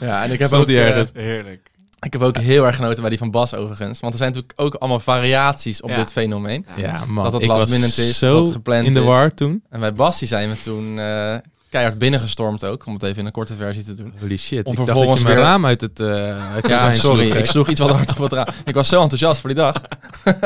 Ja, en ik heb, Stond ook, hij eh, ergens? Heerlijk. ik heb ook heel erg genoten bij die van Bas overigens. Want er zijn natuurlijk ook allemaal variaties op Ja. dit fenomeen. Ja, man. dat het ik last was minute is, zo dat het gepland in de is. war toen. En bij Bas die zijn we toen eh, keihard binnengestormd ook. Om het even in een korte versie te doen. Holy shit, Om ik dacht dat vervolgens je mijn weer- raam uit het... eh, uit Ja, het zijn sorry. sloeg, hè. Ik sloeg iets wat hard op het raam. Ik was zo enthousiast voor die dag. Dat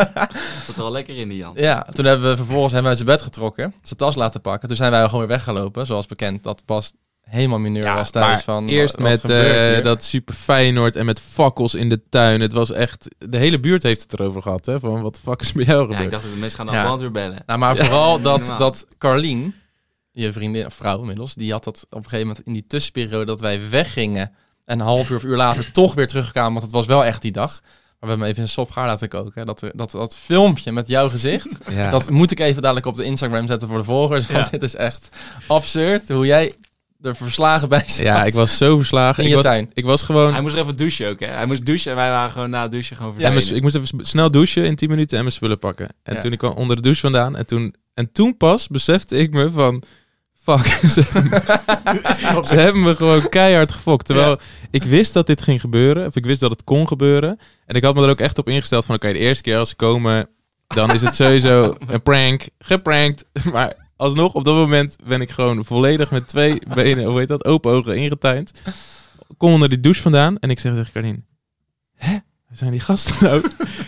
zat er wel lekker in die Jan. Ja, toen hebben we vervolgens hem uit zijn bed getrokken, zijn tas laten pakken. Toen zijn wij gewoon weer weggelopen, zoals bekend. Dat pas helemaal mineur was thuis maar van. eerst wat met gebeurt eh, hier? dat super Feyenoord en met fakkels in de tuin. Het was echt... De hele buurt heeft het erover gehad, hè. Van, wat de fuck is met jou Ja, gebeurd? ik dacht dat de mensen gaan de Ja. brandweer bellen. Nou, maar vooral dat, Helemaal. dat Carlien, je vriendin, of vrouw inmiddels, die had dat op een gegeven moment in die tussenperiode dat wij weggingen. En een half uur of uur [clears throat] later toch weer terugkwamen, want het was wel echt die dag. Maar we hebben hem even een sop gaar laten koken. Dat, dat, dat filmpje met jouw gezicht, Ja. dat moet ik even dadelijk op de Instagram zetten voor de volgers. Want Ja. dit is echt absurd hoe jij er verslagen bij staat. Ja, ik was zo verslagen. in Ik je was, tuin. ik was gewoon... Hij moest er even douchen ook, hè? Hij moest douchen en wij waren gewoon na het douchen gewoon en verdwenen. mijn sp- ik moest even sp- snel douchen in 10 minuten en mijn spullen pakken. En Ja. toen ik kwam onder de douche vandaan. En toen, en toen pas besefte ik me van... Fuck, [laughs] ze, ze hebben me gewoon keihard gefokt. Terwijl ik wist dat dit ging gebeuren. Of ik wist dat het kon gebeuren. En ik had me er ook echt op ingesteld van... Oké, de eerste keer als ze komen... Dan is het sowieso een prank. Geprankt. [laughs] Maar alsnog, op dat moment ben ik gewoon volledig met twee benen... Hoe heet dat? Open ogen ingetuind. Kom onder die douche vandaan. En ik zeg tegen Carlien... Waar zijn die gasten nou? [laughs]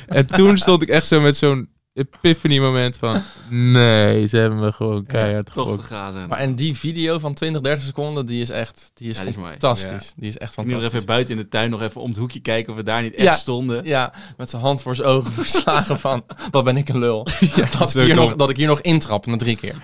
en toen stond ik echt zo met zo'n epiphany moment van... Nee, ze hebben me gewoon keihard toch te gefokt. grazen. Maar en die video van 20, 30 seconden, die is echt die is Ja, die is mooi. fantastisch. Die is echt ik moet er fantastisch. even buiten in de tuin nog even om het hoekje kijken of we daar niet echt Ja. stonden. Ja, met zijn hand voor zijn ogen [laughs] verslagen van, wat ben ik een [laughs] lul. dat, zo ik hier dom. nog, dat ik hier nog intrap na drie keer.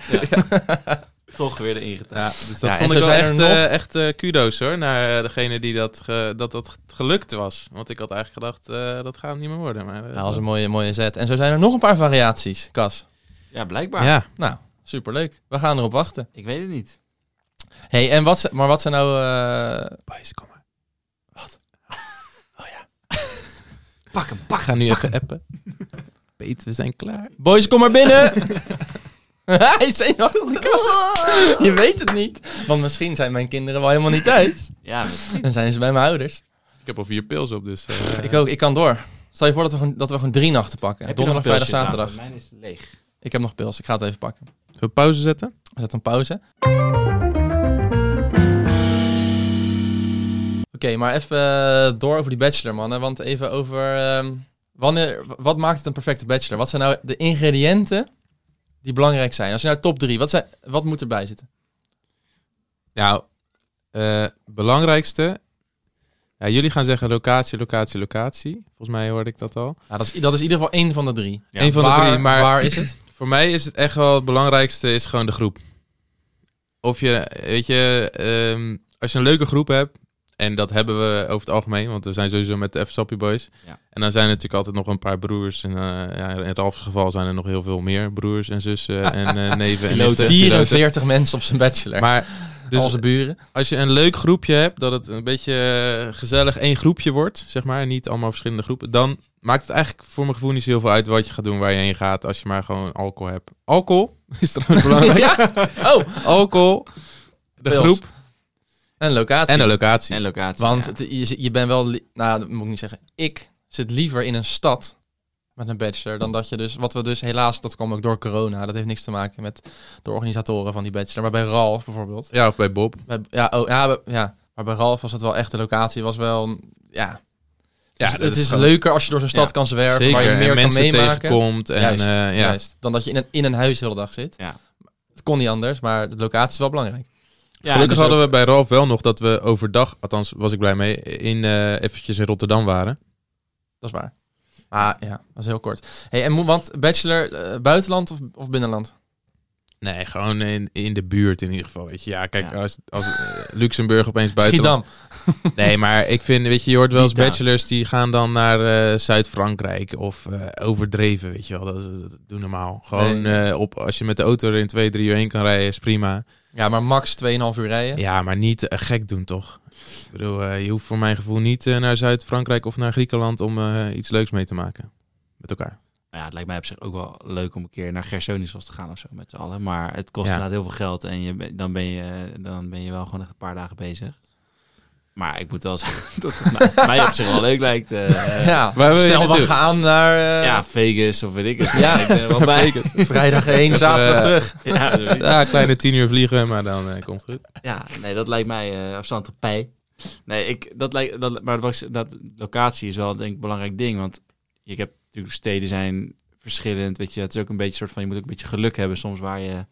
Toch weer erin getuind. Dus Ja, dat en vond zo ik wel zijn echt, er nog- eh, echt eh, kudo's hoor, naar eh, degene die dat, ge- dat dat gelukt was. Want ik had eigenlijk gedacht, eh, dat gaat hem niet meer worden. Maar, eh, Nou, dat is een mooie, mooie zet. En zo zijn er nog een paar variaties, Kas. Ja, blijkbaar. ja, Nou, superleuk. We gaan erop wachten. Ik weet het niet. hey, en wat, ze- maar wat zijn nou... eh, boys, kom maar. Pak hem, Ik pak ga nu even appen. [laughs] Peter, we zijn klaar. boys, kom maar [laughs] binnen! Hij is zenuwachtig. Je weet het niet. Want misschien zijn mijn kinderen wel helemaal niet thuis. Ja, met- Dan zijn ze bij mijn ouders. Ik heb al vier pils op, dus... Ik ook, ik kan door. Stel je voor dat we gewoon, dat we gewoon drie nachten pakken. Heb je nog een Donderdag, vrijdag, pilsje? zaterdag. Nou, Mijn is leeg. Ik heb nog pils, ik ga het even pakken. we pauze zetten? Zet een pauze. Oké, maar even eh, door over die bachelor, mannen. Want even over... ehm, wanneer, w- wat maakt het een perfecte bachelor? Wat zijn nou de ingrediënten die belangrijk zijn? Als je nou top drie, wat, zijn, wat moet erbij zitten? Nou, eh, belangrijkste... Ja, jullie gaan zeggen locatie, locatie, locatie. Volgens mij hoorde ik dat al. Nou, dat, is, dat is in ieder geval één van de drie. Ja, Eén van waar, de drie, maar... waar is het? Voor mij is het echt wel het belangrijkste is gewoon de groep. Of je, weet je, ehm, als je een leuke groep hebt, en dat hebben we over het algemeen, want we zijn sowieso met de F-Sappy Boys. Ja. En dan zijn er natuurlijk altijd nog een paar broers. En, eh, ja, in Ralfs geval zijn er nog heel veel meer broers en [laughs] zussen en eh, neven en nichten, piloten. 44 mensen op zijn bachelor. Maar dus [laughs] Onze buren. als je een leuk groepje hebt, dat het een beetje eh, gezellig één groepje wordt, zeg maar, en niet allemaal verschillende groepen, dan maakt het eigenlijk voor mijn gevoel niet zo heel veel uit wat je gaat doen, waar je heen gaat, als je maar gewoon alcohol hebt. Alcohol [laughs] is trouwens [laughs] belangrijk. Oh, Alcohol, de Pils. groep en locatie. en de locatie. En locatie. Want ja. het- je, zit- je bent wel... li- Nou, dat moet ik niet zeggen. Ik zit liever in een stad met een bachelor dan dat je dus... Wat we dus helaas, dat kwam ook door corona. Dat heeft niks te maken met de organisatoren van die bachelor. Maar bij Ralf bijvoorbeeld. Ja, of bij Bob. bij- ja, oh, ja, bij- ja, maar bij Ralf was het wel echt de locatie. was wel... Ja, Ja, Dus dat het is is gewoon- leuker als je door zo'n stad Ja, kan zwerven. waar je Zeker, meer en kan mensen meemaken. tegenkomt. En, juist, eh, ja. juist. Dan dat je in een, in een huis de hele dag zit. Ja. Het kon niet anders, maar de locatie is wel belangrijk. Ja, Gelukkig dus ook- hadden we bij Ralf wel nog dat we overdag, althans was ik blij mee, in, eh, eventjes in Rotterdam waren. Dat is waar. Ah, ja, dat is heel kort. Hey, en moet, want bachelor, eh, buitenland of, of binnenland? Nee, gewoon in, in de buurt in ieder geval. Weet je. Ja, kijk, Ja. als, als eh, Luxemburg [laughs] opeens buiten... Schiedam. Nee, maar ik vind, weet je, je hoort wel eens Niet daar. bachelors die gaan dan naar eh, Zuid-Frankrijk of eh, overdreven, weet je wel. Dat, is- dat doe normaal. Gewoon eh, op, als je met de auto er in 2, 3 uur heen kan rijden, is prima. Ja, maar max 2,5 uur rijden. Ja, maar niet eh, gek doen, toch? Ik bedoel, eh, je hoeft voor mijn gevoel niet eh, naar Zuid-Frankrijk of naar Griekenland om eh, iets leuks mee te maken. Met elkaar. Nou Ja, het lijkt mij op zich ook wel leuk om een keer naar Gersonissos te gaan of zo met z'n allen. Maar het kost Ja. inderdaad heel veel geld en je, ben- dan, ben je, dan ben je wel gewoon echt een paar dagen bezig. Maar ik moet wel zeggen [laughs] dat het mij- mij op zich wel leuk lijkt. eh, [laughs] eh, Ja, Waar wil je stel we naartoe? gaan naar eh, ja, Vegas of weet ik het. Ja. ik ben er wel bij. [laughs] vrijdag heen, Even, zaterdag eh, terug. Ja, zoiets. Ja, kleine tien uur vliegen, maar dan eh, komt het goed. Ja, nee, dat lijkt mij eh afstand op pij. Nee, ik, dat lijkt, dat, maar dat, dat locatie is wel denk ik een belangrijk ding. Want ik heb natuurlijk steden zijn verschillend. Weet je, het is ook een beetje soort van, je moet ook een beetje geluk hebben soms waar je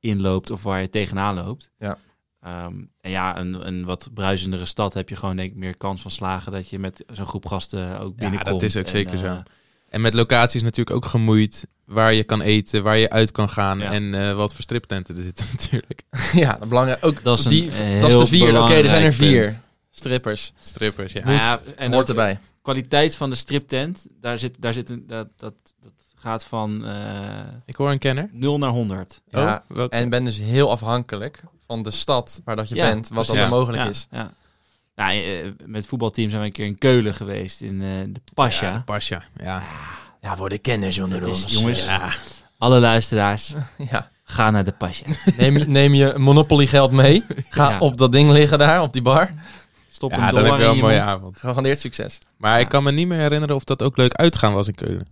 in loopt of waar je tegenaan loopt. Ja. Ehm, en ja, een, een wat bruisendere stad heb je gewoon denk ik meer kans van slagen dat je met zo'n groep gasten ook binnenkomt. dat is ook En, zeker eh, zo. En met locaties natuurlijk ook gemoeid. Waar je kan eten, waar je uit kan gaan. Ja. En eh, wat voor striptenten er zitten [laughs] natuurlijk. ja, dat belangrijk. Ook Dat is een eh, die, heel dat is de vier. Oké, er zijn er belangrijk vier. punt. Strippers. Strippers, ja. Nou ja, en Hoort ook- erbij. kwaliteit van de striptent, daar zit, daar zit een, dat, dat, dat gaat van eh Ik hoor een kenner. 0 naar 100. Ja, Oh, welke? En ben dus heel afhankelijk van de stad waar dat je Ja, bent, wat precies. dat er Ja, mogelijk ja, is. Ja. Nou, eh, met voetbalteam zijn we een keer in Keulen geweest, in eh, de Pasja. Ja, Pasja, ja. Ja, voor de kennis onder Het is- jongens, Ja. alle luisteraars, Ja. [laughs] ga naar de [laughs] Pasja. Neem, neem je Monopoly geld mee. Ga Ja. op dat ding liggen daar, op die bar. Stop Ja, een dan dollar heb je in wel een je mooie mond. avond. Gegarandeerd succes. Maar Ja. ik kan me niet meer herinneren of dat ook leuk uitgaan was in Keulen.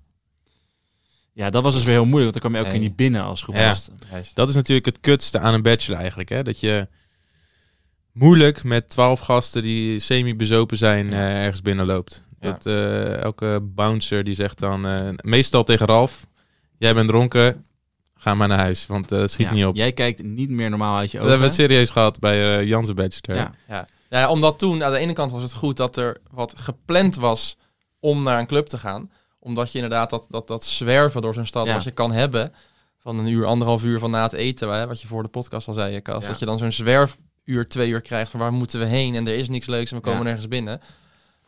Ja, dat was dus weer heel moeilijk, want dan kwam je ook Nee. niet binnen als groep Ja. gasten. Dat is natuurlijk het kutste aan een bachelor eigenlijk. Hè? Dat je moeilijk met twaalf gasten die semi-bezopen zijn eh, ergens binnenloopt. Ja. Dat, eh, elke bouncer die zegt dan, eh, meestal tegen Ralf, jij bent dronken, ga maar naar huis, want eh, het schiet Ja, niet op. Jij kijkt niet meer normaal uit je Dat hebben we ogen. het serieus gehad bij eh Jansen Bachelor. Ja. Ja. Nou ja, omdat toen, aan de ene kant was het goed dat er wat gepland was om naar een club te gaan. Omdat je inderdaad dat, dat, dat zwerven door zo'n stad, Ja. wat je kan hebben. Van een uur, anderhalf uur van na het eten, hè, wat je voor de podcast al zei, Kas. Ja. Dat je dan zo'n zwerfuur, twee uur krijgt van waar moeten we heen en er is niks leuks en we komen Ja. nergens binnen.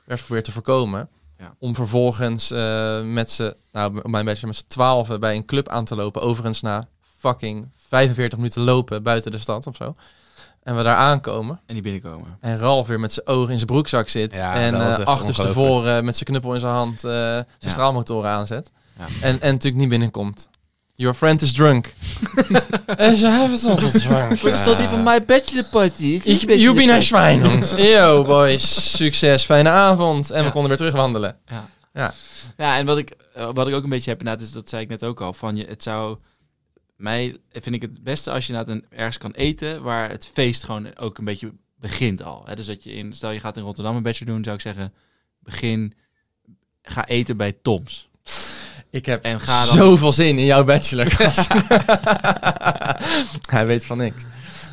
Werd geprobeerd te voorkomen. Ja. Om vervolgens eh, met z'n, nou, op mijn beetje met z'n twaalf bij een club aan te lopen. Overigens na fucking 45 minuten lopen buiten de stad of zo. En we daar aankomen. En die [laughs] binnenkomen. En Ralf weer met zijn ogen in zijn broekzak zit. Ja, en dat was eh echt achterstevoren eh, met zijn knuppel in zijn hand eh, zijn Ja. straalmotoren aanzet. Ja. En, en natuurlijk niet binnenkomt. Your friend is drunk. en Eh, ze hebben het altijd [laughs] drunk. mijn bachelorparty? Ik- You been a [laughs] Schweinhund. Yo boys, succes, fijne avond. En Ja. we konden weer terugwandelen. Ja, en wat ik, eh, wat ik ook een beetje heb inderdaad, is dat zei ik net ook al, van je, het zou... Mij vind ik het beste als je inderdaad een, ergens kan eten waar het feest gewoon ook een beetje begint al. Hè? Dus dat je in, stel je gaat in Rotterdam een bachelor doen, zou ik zeggen, begin, ga eten bij Toms. Ik heb En ga dan- zoveel zin in jouw bachelor. [laughs] Cas. Hij weet van niks.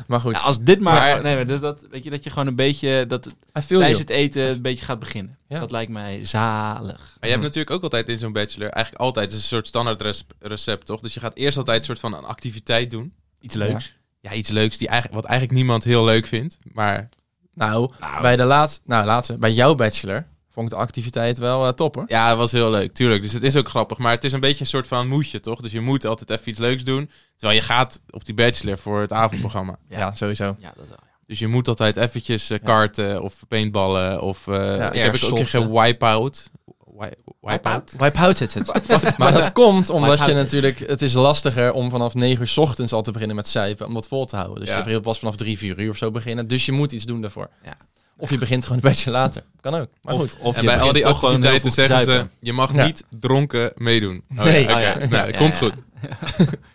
Maar goed, Ja, als dit maar, Maar- nee, maar dus dat, weet je, dat je gewoon een beetje, dat het I feel tijdens you. het eten een beetje gaat beginnen. Ja. Dat lijkt mij zalig. Maar je hebt natuurlijk ook altijd in zo'n bachelor, eigenlijk altijd, het is een soort standaard res- recept, toch? Dus je gaat eerst altijd een soort van een activiteit doen. Iets leuks. Ja, iets leuks die eigenlijk, wat eigenlijk niemand heel leuk vindt, maar... Nou, Nou. bij de laatste, nou, laatste, bij jouw bachelor vond ik de activiteit wel topper. top hoor. Ja, dat was heel leuk, tuurlijk. Dus het is ook grappig. Maar het is een beetje een soort van moetje, toch? Dus je moet altijd even iets leuks doen. Terwijl je gaat op die bachelor voor het avondprogramma. Ja. Ja, sowieso. Ja, dat wel. ja. Dus je moet altijd eventjes eh, karten of paintballen of... eh ik heb ook een airsoften. keer wipeout. Wi- Wipeout? Wipeout zit het. maar dat komt omdat je Wipeout. natuurlijk... Het is lastiger om vanaf 9 uur 's ochtends al te beginnen met zuipen... om dat vol te houden. Dus Ja. je wil pas vanaf 3, 4 uur of zo beginnen. Dus je moet iets doen daarvoor. Ja. Of je begint gewoon een beetje later. Kan ook. Maar goed. Of, of En je bij al begint die toch gewoon heel activiteiten vroeg zeggen te ze, zuipen. je mag Ja. niet dronken meedoen. Oh, ja, Nee. oké. Oh, ja. Nou, Ja, komt ja. goed.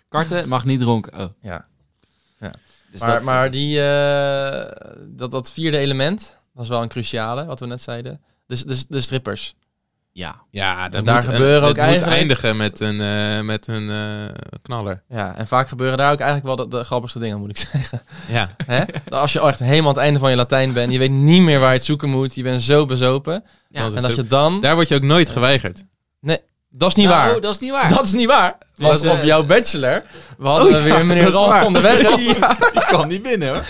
Karten mag niet dronken. Oh. Ja. Dus maar dat- maar die, eh, dat, dat vierde element was wel een cruciale, wat we net zeiden. Dus de, de strippers. Ja. Ja, dat daar moet een- gebeuren ook het moet eigenlijk- eindigen met een, eh, met een eh, knaller. Ja, en vaak gebeuren daar ook eigenlijk wel de, de grappigste dingen, moet ik [laughs] zeggen. Ja. Hè? Als je al echt helemaal aan het einde van je Latijn bent, je weet niet meer waar je het zoeken moet, je bent zo bezopen. Ja. Dan is en het dat ook- je dan... Daar word je ook nooit geweigerd. Dat is niet Nou, waar. dat is niet waar. Dat is niet waar. Want Dus, eh, op jouw bachelor we hadden Oh we weer ja, meneer [laughs] dat is Ralf waar. van der Werf. [laughs] Die kwam niet binnen hoor.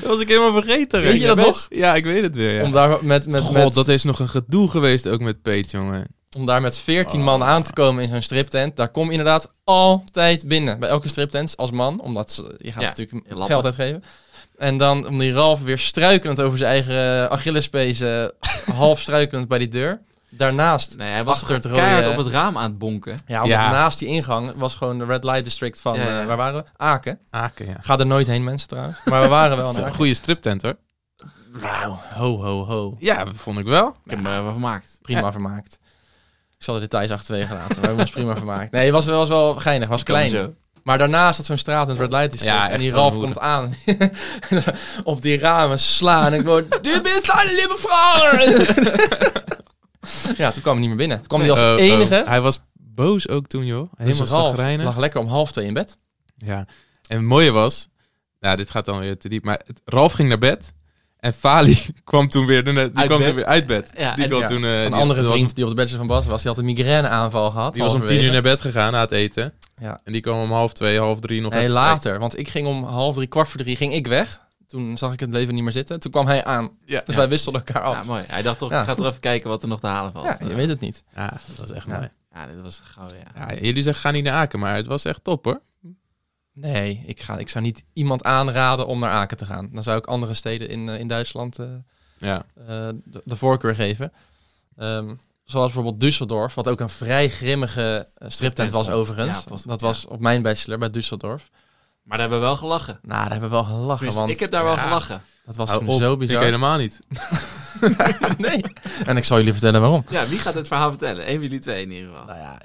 Dat was ik helemaal vergeten. Weet Rick. je dat bent- nog? Ja, ik weet het weer. ja. Om daar met, met, God, met, dat is nog een gedoe geweest ook met Peet, jongen. om daar met 14 man aan te komen in zo'n striptent. Daar kom je inderdaad altijd binnen. Bij elke striptent als man. Omdat ze, je gaat Ja, natuurlijk lappen. geld uitgeven. En dan om die Ralf weer struikelend over zijn eigen [laughs] Achillespezen. half struikelend bij die deur. Daarnaast. Nee, hij was Achter Achter het keihard rode- op het raam aan het bonken. Ja, omdat Ja. naast die ingang was gewoon de Red Light District van, Ja, ja. eh, waar waren we? Aken. Aken, ja. Ga er nooit heen mensen trouwens. Maar we waren wel [laughs] Dat is naar een Aken. goede striptent, hoor. Nou, ho ho ho. Ja, vond ik wel. Ik heb me wel vermaakt. prima vermaakt. Ik zal de details achterwege laten, maar we ons prima vermaakt. Nee, het was wel, was wel geinig, was klein. Zo. Maar daarnaast had zo'n straat met red light district Ja, echt en die gewoon Ralf hoeren. komt aan. [laughs] Op die ramen slaan en ik word, du bist een lieve vrouw! [laughs] ja, toen kwam hij niet meer binnen. Toen kwam hij als Oh, oh. enige. Hij was boos ook toen, joh. Helemaal Dus Ralf chagrijnig. lag lekker om half twee in bed. Ja. En het mooie was... Nou, dit gaat dan weer te diep. Maar het- Ralf ging naar bed. En Fali [laughs] kwam toen weer, die Uit kwam bed. toen weer uit bed. Ja, die en- kwam Ja, toen... eh, een die- andere die was- vriend die op de bachelor van Bas was, die had een migraineaanval gehad. Die was om tien uur halverwege. naar bed gegaan na het eten. Ja. En die kwam om half twee, half drie nog Nee, even- later. Want ik ging om half drie, kwart voor drie, ging ik weg. Toen zag ik het leven niet meer zitten. Toen kwam hij aan. Ja. Dus wij wisselden elkaar af. Ja, mooi. Hij dacht toch, Ja, ik ga goed. toch even kijken wat er nog te halen valt. Ja, je weet het niet. Ja, dat was echt Ja. mooi. Ja, dit was gauw, ja. Ja, jullie zeggen, ga niet naar Aken, maar het was echt top, hoor. Nee, ik, ga, ik zou niet iemand aanraden om naar Aken te gaan. Dan zou ik andere steden in, eh, in Duitsland eh, Ja, eh, de, de voorkeur geven. Ehm, zoals bijvoorbeeld Düsseldorf, wat ook een vrij grimmige eh, striptent was Ja, overigens. was- dat ja. was op mijn bachelor bij Düsseldorf. Maar daar hebben we wel gelachen. Nou, daar hebben we wel gelachen, Dus want ik heb daar wel ja, gelachen. dat was Hou toen op, zo ik bizar. helemaal niet. [laughs] nee. En ik zal jullie vertellen waarom. Ja, wie gaat het verhaal vertellen? Eén van jullie twee in ieder geval. Nou ja,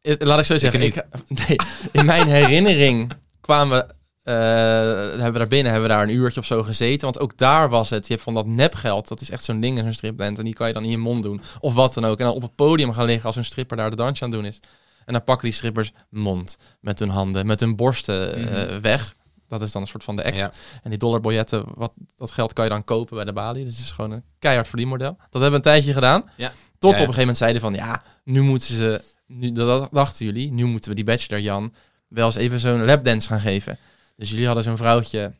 Eh, Laat ik zo zeggen. niet. Ik, [laughs] nee, in mijn herinnering kwamen we. eh, hebben we daar binnen hebben we daar een uurtje of zo gezeten. Want ook daar was het. Je hebt van dat nepgeld. Dat is echt zo'n ding in zo'n stripband. En die kan je dan in je mond doen. Of wat dan ook. En dan op het podium gaan liggen als een stripper daar de dansje aan het doen is. En dan pakken die strippers mond met hun handen, met hun borsten eh, weg. Dat is dan een soort van de act. Ja. En die dollarbiljetten, wat, dat geld kan je dan kopen bij de balie. Dus het is gewoon een keihard verdienmodel. Dat hebben we een tijdje gedaan. Ja. Tot we op Ja, ja. een gegeven moment zeiden van, ja, nu moeten ze... Nu, dat dachten jullie, nu moeten we die bachelor Jan wel eens even zo'n lapdance gaan geven. Dus jullie hadden zo'n vrouwtje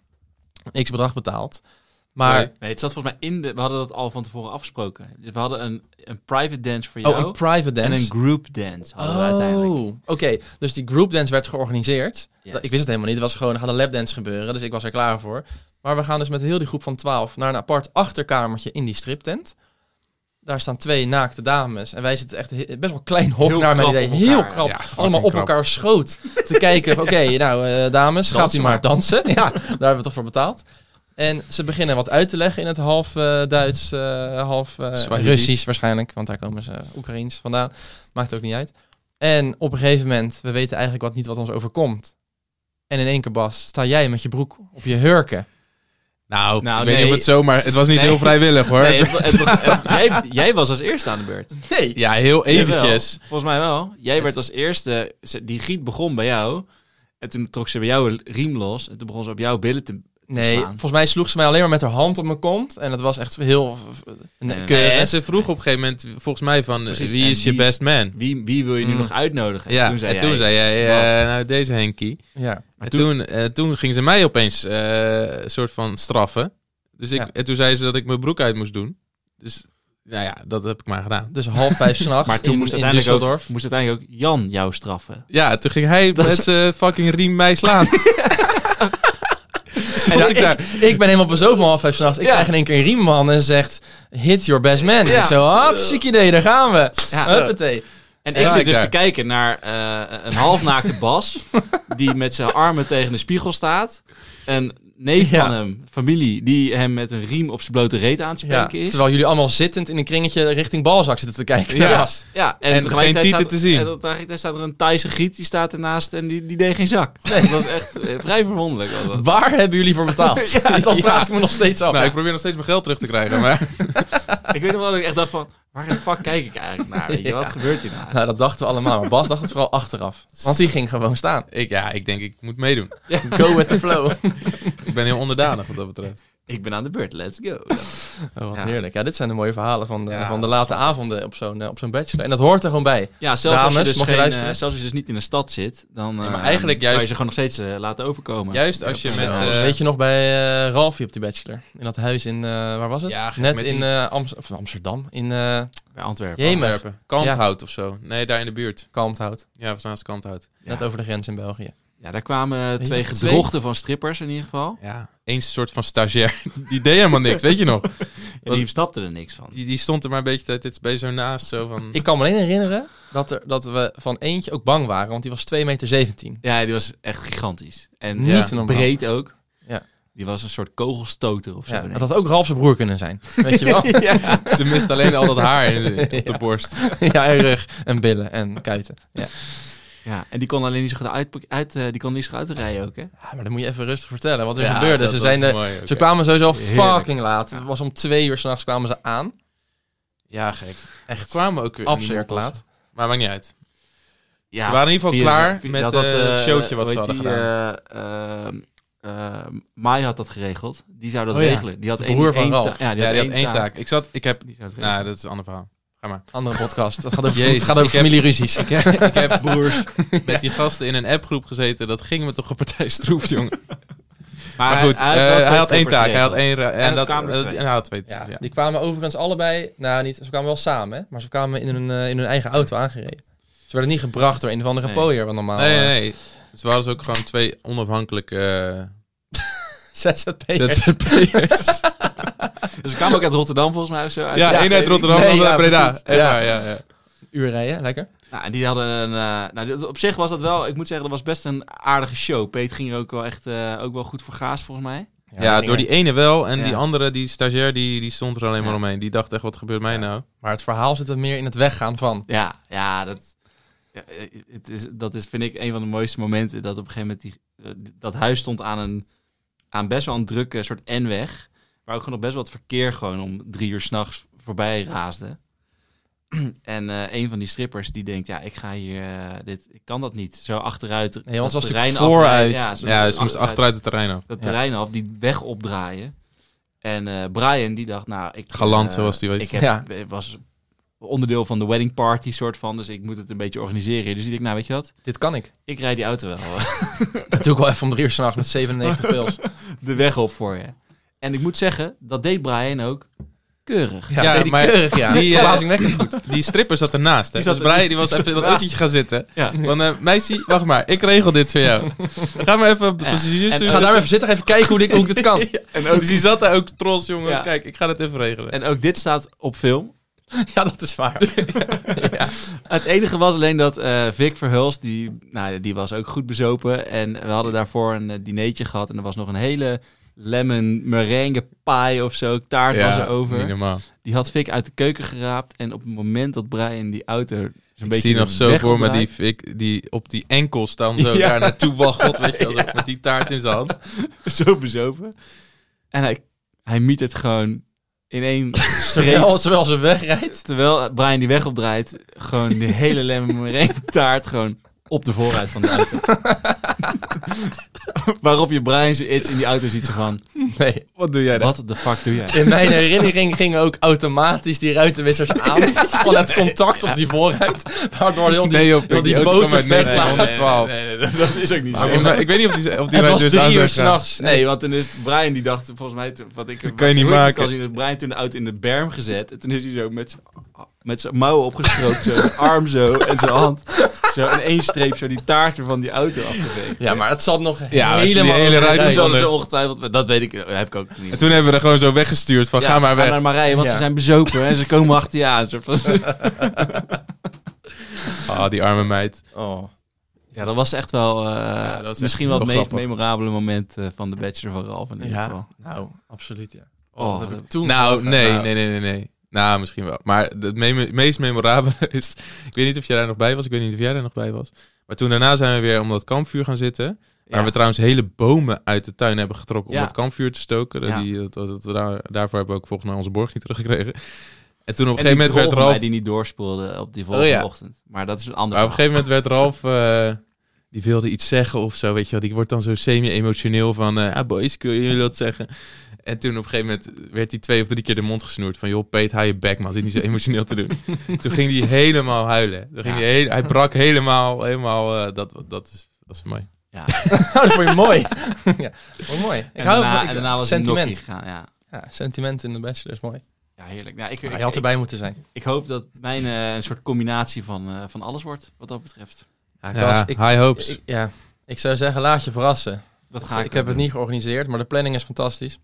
x bedrag betaald. Maar, Nee. Nee, het zat volgens mij in de... We hadden dat al van tevoren afgesproken. Dus we hadden een, een private dance voor jou. oh, een private dance. en een group dance hadden we uiteindelijk. Oh, oké. Dus die groupdance werd georganiseerd. Yes. Ik wist het helemaal niet. Het was gewoon, er gaat een lapdance gebeuren. Dus ik was er klaar voor. Maar we gaan dus met heel die groep van 12 naar een apart achterkamertje in die striptent. Daar staan twee naakte dames. En wij zitten echt he- best wel een klein hok Heel naar mijn krap idee. op elkaar, Heel ja. krap. Ja, fucking Allemaal op krap. elkaar schoot. Te kijken, [laughs] van, oké, nou eh, dames, gaat u maar. maar dansen. [laughs] Ja, daar hebben we toch voor betaald. En ze beginnen wat uit te leggen in het half eh, Duits, eh, half eh, Swahili's. Russisch waarschijnlijk. Want daar komen ze Oekraïens vandaan. Maakt ook niet uit. En op een gegeven moment, we weten eigenlijk wat niet wat ons overkomt. En in één keer, Bas, sta jij met je broek op je hurken. Nou, Nou, ik weet nee. niet of het zomaar... Het was niet Nee. heel vrijwillig, hoor. Nee, het- het- het- [laughs] jij, jij was als eerste aan de beurt. Nee. Ja, heel eventjes. Jawel, volgens mij wel. Jij werd als eerste... ze- Die giet begon bij jou. En toen trok ze bij jou een riem los. En toen begon ze op jouw billen te, te Nee, slaan. volgens mij sloeg ze mij alleen maar met haar hand op mijn kont. En dat was echt heel eh, Nee. Nee, keurig. en ze vroeg op een gegeven moment, volgens mij, van eh, Precies, wie en is je wie is- best man? Wie, wie wil je nu Mm. nog uitnodigen? Ja, toen zei en toen jij, zei jij, eh, nou, deze Henkie. Ja. En toen, eh, toen ging ze mij opeens eh, een soort van straffen. Dus ik, Ja. En toen zei ze dat ik mijn broek uit moest doen. Dus nou ja, dat heb ik maar gedaan. Dus half [laughs] vijf s'nachts Maar toen in, moest in uiteindelijk, ook, Düsseldorf. moest uiteindelijk ook Jan jou straffen. Ja, toen ging hij Dat is- met zijn fucking riem mij [laughs] slaan. Nou, En Stond ja, ik ik, daar. ik ben helemaal bezopen om half vijf s'nachts. Ik Ja. krijg in één keer een riem man en ze zegt, hit your best man. Ja. Ik zo, hartstikke idee, daar gaan we. Ja. Huppatee. En Sterk ik zit dus daar. te kijken naar eh, een halfnaakte [laughs] Bas, die met zijn armen tegen de spiegel staat. Een neef Ja. van hem, familie, die hem met een riem op zijn blote reet aan het Ja, spreken is. terwijl jullie allemaal zittend in een kringetje richting balzak zitten te kijken. Ja. Ja. Ja, en, En tegelijkertijd geen tieten staat, te zien. En tegelijkertijd staat er een Thaise giet, die staat ernaast en die, die deed geen zak. Dat was echt eh, vrij verwonderlijk. was dat. Waar hebben jullie voor betaald? dat vraag ik me nog steeds af. nou, ik probeer nog steeds mijn geld terug te krijgen. Maar [laughs] Ik weet nog wel dat ik echt dacht van, waar de fuck kijk ik eigenlijk naar? Weet je, wat gebeurt hier nou? Nou, dat dachten we allemaal. Maar Bas dacht het vooral achteraf. Want die ging gewoon staan. ik, ja, ik denk, ik moet meedoen. Go with the flow. Ik ben heel onderdanig wat dat betreft. Ik ben aan de beurt, let's go. Oh, wat Ja. heerlijk. Ja, dit zijn de mooie verhalen van de, Ja, van de late avonden op zo'n eh, op zo'n bachelor. En dat hoort er gewoon bij. Ja, zelfs, als Dames, je dus mag je geen, luisteren? eh, zelfs als je dus niet in de stad zit, Nee, dan maar eh, eigenlijk kan je juist- ze gewoon nog steeds eh, laten overkomen. Juist als je Ja, met... Zo, eh, Weet je nog bij eh Ralfie op die bachelor? In dat huis in, eh, waar was het? Ja, gek, Net met in die- eh, Amst- of Amsterdam. In eh Bij Antwerpen. Jemig. Antwerpen. Kanthout of zo. Nee, daar in de buurt. Kalmthout. Ja, was naast Kanthout. Ja. Net over de grens in België. Mhm. Ja, daar kwamen eh, je twee nog, gedrochten van strippers in ieder geval. Ja, eens een soort van stagiair. [laughs] Die deed helemaal niks, weet je nog? En die snapten er niks van. Die, die stond er maar een beetje tijd- dit bij zo naast. Zo van, Ik kan me alleen herinneren dat, er, dat we van eentje ook bang waren. Want die was 2,17 meter. Ja, die was echt gigantisch. En Niet ja, normaal. breed ook. Ja. Die was een soort kogelstoter of zo. Ja, denk dat ik. had ook Ralf zijn broer kunnen zijn. Weet je [laughs] wel? Ze mist alleen al dat haar in [laughs] de, op de borst. [laughs] ja, en rug en billen en kuiten. Ja. ja, en die kon alleen niet zo goed uit, uit, eh, die kon niet zo goed uitrijden ook, hè? Ja, maar dat moet je even rustig vertellen wat er Ja, gebeurde. dat Ze, was zijn er, mooi ook, ze ja. kwamen sowieso Heerlijk. fucking laat. Het was om twee uur s'nachts kwamen ze aan. Ja, gek. Ze Echt kwamen ook weer niet absurd meer op. laat. Maar maakt niet uit. Ja, Ze waren in ieder geval via- klaar via- met, dat eh, had, eh, het showtje wat ze hoe heet hadden die, eh, ehm, ehm, Mai had dat geregeld. Die zou dat Oh ja, regelen. Die had de één- broer van één Ralf. ta- Ja, die ja, had, die had één taak. Ik zat, ik heb, Die zou het regelen. nou, dat is een ander verhaal. Ga maar. Andere podcast. Dat gaat over, Jezus, gaat over ik heb- familieruzies. Ik heb, ik heb broers [laughs] met die gasten in een appgroep gezeten. Dat ging me toch een partij stroef, jongen. Maar goed, eh, had wel hij twee had één stoppers taak. Hij had geregeld. één... ra- En het dat- kwamen er dat- twee. en hij had twee. Ja, ja. Die kwamen overigens allebei, nou niet, ze kwamen wel samen, hè, maar ze kwamen in hun, eh, in hun eigen auto aangereden. Ze werden niet gebracht door een of andere Nee. pooier, want normaal... Nee, eh, nee, nee. Dus we hadden dus ook gewoon twee onafhankelijke eh, [laughs] ZZP'ers. ZZP'ers. Dus ik kwam ook uit Rotterdam volgens mij. of Zo, uit ja, de één uit omgeving. Rotterdam, Nee, ander ja, uit Breda. precies. Ja, Ja. ja, ja, ja. Uur rijden, lekker. Nou, en die hadden een... eh, nou, dit- op zich was dat wel... Ik moet zeggen, dat was best een aardige show. Peet ging er ook wel echt eh, ook wel goed voor gaas, volgens mij. door die ene wel. En Ja. die andere, die stagiair, die, die stond er alleen maar Ja. omheen. Die dacht echt, wat gebeurt mij nou? Maar het verhaal zit er meer in het weggaan van. Ja, ja, dat, ja, eh, het is, dat is, vind ik, een van de mooiste momenten. Dat op een gegeven moment die, eh, dat huis stond aan, een, aan best wel een drukke soort N-weg. Waar ook gewoon nog best wel het verkeer gewoon om drie uur s'nachts voorbij raasde. [clears throat] En eh, een van die strippers die denkt, ja, ik ga hier, eh, dit, ik kan dat niet. Zo achteruit. Nee, want het dat was terrein natuurlijk vooruit. afrijden. Ja, ze Ja, moest dus moest achteruit het terrein [laughs] af. Dat Ja. terrein af, die weg opdraaien. En eh, Brian die dacht, nou, ik... Galant, eh, zoals die weet. Ik heb, Ja. ik was onderdeel van de wedding party soort van, dus ik moet het een beetje organiseren. Dus ik dacht, nou, weet je wat? Dit [laughs] kan ik. Ik rijd die auto wel eh, Dat doe ik wel even om drie uur s'nachts [laughs] met 97 pils. [laughs] de weg op voor je. En ik moet zeggen, dat deed Brian ook keurig. Ja, Ja, deed die maar- keurig, ja. die, eh, Verbazingwekkend [laughs] goed. Die stripper zat ernaast. Hè? Die zat dus Brian die was even in dat ernaast. autootje gaan zitten. Ja. Van, eh, meisje, wacht maar. Ik regel dit voor jou. [laughs] Ga maar even op de Ja. passagiers. En Ga daar even zitten, ga even kijken hoe, dit, hoe ik dit kan. En ook, dus [laughs] die zat daar ook trots, jongen. Ja. Kijk, ik ga dat even regelen. En ook dit staat op film. Ja, dat [laughs] is waar. Het enige was alleen dat eh, Vic Verhulst, die, nou, die was ook goed bezopen. En we hadden daarvoor een eh, dinertje gehad. En er was nog een hele lemon meringue pie of zo. Taart was er over. Niet normaal. Die had Vic uit de keuken geraapt. En op het moment dat Brian die auto zo'n Ik beetje zie nog de zo weg voor me die, opdraait- fik- die op die enkel staan zo [laughs] Ja. daar naartoe waggelt, weet [laughs] je wel, zo met die taart in zijn hand. zo bezopen. En hij, hij miet het gewoon in [laughs] één streep. Terwijl, terwijl ze wegrijdt. terwijl Brian die weg opdraait, gewoon de hele lemon meringue taart gewoon op de voorruit van de auto. [laughs] Waarop je Brian zijn iets in die auto ziet zo van, Nee. Wat doe jij dan? wat de fuck doe jij? In mijn herinnering gingen ook automatisch die ruitenwissers aan. Van het contact op die voorruit. Waardoor heel die... joh, wil die auto boter kwam uit vecht Nederland. aan. 112. Nee, nee, nee, nee, dat is ook niet Maar zo. volgens mij- ik weet niet of die, of die het was radio is drie aan uur zou gaan. s'nachts. Nee, want toen is Brian die dacht, volgens mij, toen- wat ik Dat kan je niet maken. Als hij Brian toen de auto in de berm gezet en toen is hij zo met z'n- met zijn mouw opgestroopt, [laughs] zo zijn arm zo en zijn hand, zo in één streep zo die taartje van die auto afgeveegd. Ja, maar het zat nog Ja, het is die helemaal... hele over de ruit- Toen rij. zouden ze ongetwijfeld, dat weet ik, dat heb ik ook En niet. toen hebben we er gewoon zo weggestuurd van, Ja, ga maar weg. naar Marije, want Ja. ze zijn bezopen en ze komen achter je aan. soort van. Ah, die arme meid. Oh. Ja, dat was echt wel, eh, dat is echt misschien wel het wel meest grappig. memorabele moment eh, van de Bachelor van Ralf in ieder Ja, geval. nou, absoluut, ja. Oh, Oh, dat heb dat- ik toen Nou, gedaan. nee, Nou, nee, nee, nee, nee. Nou, misschien wel. Maar het me- meest memorabele [laughs] is... Ik weet niet of jij daar nog bij was. Ik weet niet of jij daar nog bij was. Maar toen daarna zijn we weer om dat kampvuur gaan zitten. Waar Ja. we trouwens hele bomen uit de tuin hebben getrokken om Ja. het kampvuur te stoken. Dat Ja. Die, dat, dat we daar, daarvoor hebben we ook volgens mij onze borg niet teruggekregen. En toen op een En die gegeven moment drol werd van mij Ralf... die niet doorspoelde op die volgende Oh, ja. ochtend. Maar dat is een ander Maar Nou, op een gegeven moment werd Ralf... eh, die wilde iets zeggen of zo, weet je wel. Die wordt dan zo semi-emotioneel van... eh ah, boys, kun jullie dat zeggen? En toen op een gegeven moment werd hij twee of drie keer de mond gesnoerd. Van, joh, Peet, hou je bek, man. Zit niet zo emotioneel te doen. toen ging hij helemaal huilen. Toen ging Ja. hij, heel- hij brak helemaal, helemaal... eh, dat, dat is... Dat is mooi. nou, dat vond je mooi. [laughs] ja, vond je mooi. Ik En hou daarna, van en daarna was het Nokkie sentiment. gegaan, ja. Ja, sentiment in de Bachelor is mooi. Ja, heerlijk. Nou, ik, Ja, ik, je had ik, erbij moeten zijn. ik hoop dat mijn eh, een soort combinatie van, eh, van alles wordt, wat dat betreft. Ja, ik, was, Ja, ik, high hopes. ik- ja, ik zou zeggen, laat je verrassen. Dat ga ik, ik heb het doen. niet georganiseerd, maar de planning is fantastisch.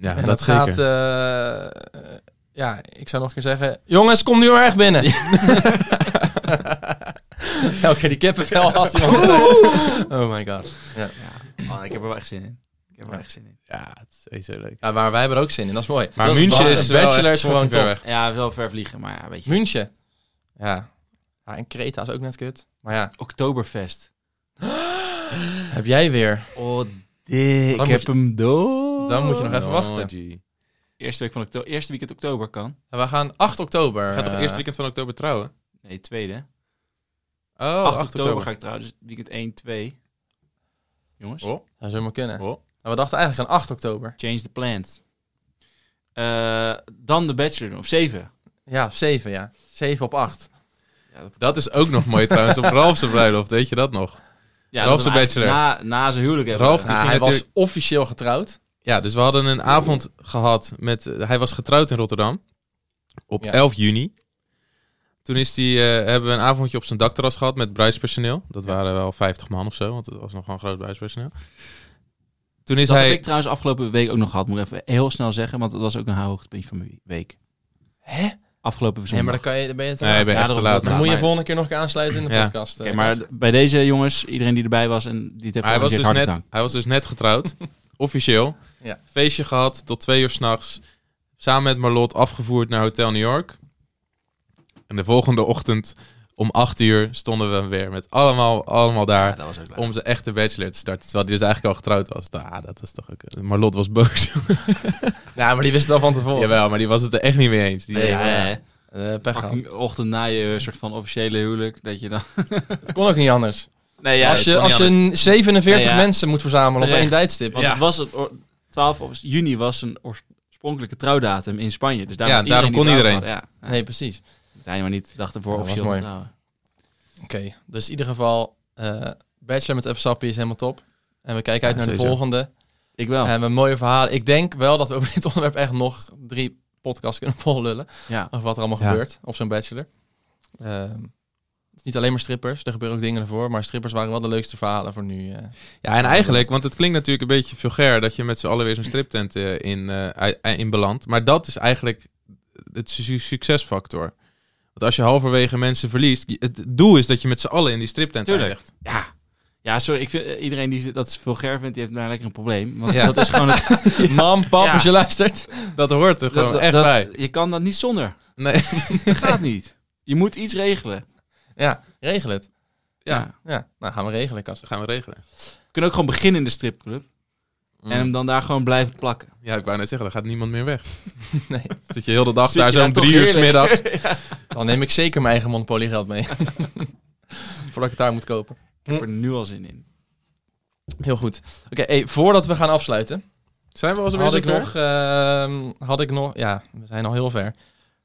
ja, en dat, dat zeker. gaat... eh, eh, ja, ik zou nog een keer zeggen... Jongens, kom nu maar echt binnen. [laughs] Elke keer die kippenvel als iemand... oh my god. Ja. Man, ik heb er wel echt zin in. Ik heb er wel echt zin in. ja, het is sowieso leuk. Ja, maar wij hebben er ook zin in, dat is mooi. Maar Dat is München waar. is De wel Bachelor echt is gewoon fucking ver top. weg. Ja, wel ver vliegen, maar ja, weet je. München. Ja. ja. En Kreta is ook net kut. Maar ja, Oktoberfest. heb jij weer. Oh, dik. Dan Ik moet heb hem door. Dan moet je nog even Oh, wachten. gee. Eerste, week van oktober, eerste weekend oktober kan. We gaan 8 oktober. Gaat toch eh, eerste weekend van oktober trouwen? Nee, tweede. hè? Oh, 8 oktober, ga ik trouwen, dus weekend 1, 2. Jongens, Oh, Dat zou maar kunnen. oh. Maar we dachten eigenlijk aan 8 oktober. change the plans. Eh, dan de Bachelor, of 7. Ja, op 7 ja. 7 op 8. Ja, dat Dat is ook nog mooi trouwens op Ralf's bruiloft, weet je dat nog? Ja, Ralf dat we de Bachelor. eigenlijk Na, na zijn huwelijk hebben. Ralf we- die Nou, ging hij was natuurlijk- officieel getrouwd. Ja, dus we hadden een avond eh, gehad met... Hij was getrouwd in Rotterdam op Ja. 11 juni. Toen is die, eh, hebben we een avondje op zijn dakterras gehad met bruidspersoneel. Dat waren wel 50 man of zo, want het was nogal een groot bruidspersoneel. Toen is Dat hij... heb ik trouwens afgelopen week ook nog gehad, moet ik even heel snel zeggen. Want dat was ook een hoogtepuntje van mijn week. Hè? Afgelopen Nee, maar zondag. dan, kan je, dan ben je te Nee, laat. ik ben Ja, echt dat te was laat. wel Dan man. moet je maar- volgende keer nog een keer aansluiten in de Nou, Ja. podcast. eh. Oké, maar bij deze jongens, iedereen die erbij was en die het heeft Hij was, dus georganiseerd, hartelijk net, hij was dus net [laughs] getrouwd, officieel. Ja. Feestje gehad tot twee uur s'nachts. Samen met Marlot afgevoerd naar Hotel New York. En de volgende ochtend om acht uur stonden we weer met allemaal, allemaal dank. daar. Ja, dat was ook leuk. Om zijn echte bachelor te starten. Terwijl hij dus eigenlijk al getrouwd was. Nou, dat is toch ook... Marlot was boos. Ja, maar die wist het al van tevoren. Jawel, maar die was het er echt niet mee eens. Die, Nee, ja, maar ja. hè. Eh, pech gehad. Fucking ochtend na je eh, soort van officiële huwelijk, dat je dan... Het kon ook niet anders. Nee, als het je, kon niet als je 47 Nee, ja. mensen moet verzamelen op Terecht. één tijdstip. Want Ja. het was het oor- 12 of- juni was een oorspronkelijke trouwdatum in Spanje. Dus daar Ja, had daarom kon die trouw iedereen. gehad. Ja, Nee, precies. nee, maar niet de dag ervoor Ja, was officieel mooi. te trouwen. Oké, dus in ieder geval, eh, Bachelor met F. Sappi is helemaal top. En we kijken uit Ja, naar de sowieso. Oh. volgende. Ik wel. En we hebben mooie verhalen. Ik denk wel dat we over dit onderwerp echt nog drie podcasts kunnen [laughs] vollullen. ja. Over wat er allemaal Ja. gebeurt op zo'n Bachelor. Ehm, het is niet alleen maar strippers. Er gebeuren ook dingen ervoor. Maar strippers waren wel de leukste verhalen voor nu. eh. [laughs] Ja, en eigenlijk, want het klinkt natuurlijk een beetje vulgair dat je met z'n allen weer zo'n striptent eh, in, eh, i- in belandt. Maar dat is eigenlijk het su- succesfactor. Want als je halverwege mensen verliest, je- het doel is dat je met z'n allen in die striptent Tuurlijk. eindigt. ja. Ja, sorry, ik vind, eh, iedereen die dat vulgair vindt, die heeft nou lekker een probleem. Want Ja. dat is gewoon... Het, Mam, pap, Ja. als je luistert. Dat hoort er gewoon dat- echt dat- bij. Je kan dat niet zonder. Nee. [laughs] Dat gaat niet. Je moet iets regelen. Ja, regel het. Ja. Ja, nou gaan we regelen, Kas. Dat gaan we regelen. We kunnen ook gewoon beginnen in de stripclub. En hem dan daar gewoon blijven plakken. Ja, ik wou net zeggen, dan gaat niemand meer weg. [laughs] Nee, Dan Zit je heel de dag Zit daar je zo daar om toch drie uur heerlijk? smiddags. [laughs] Dan neem ik zeker mijn eigen monopoliegeld [laughs] mee. Voordat ik het daar moet kopen. Ik heb er nu al zin in. Heel goed. Oké, hey, voordat we gaan afsluiten, Zijn we al zo had ik, weer nog, ehm, had ik nog, ja, we zijn al heel ver.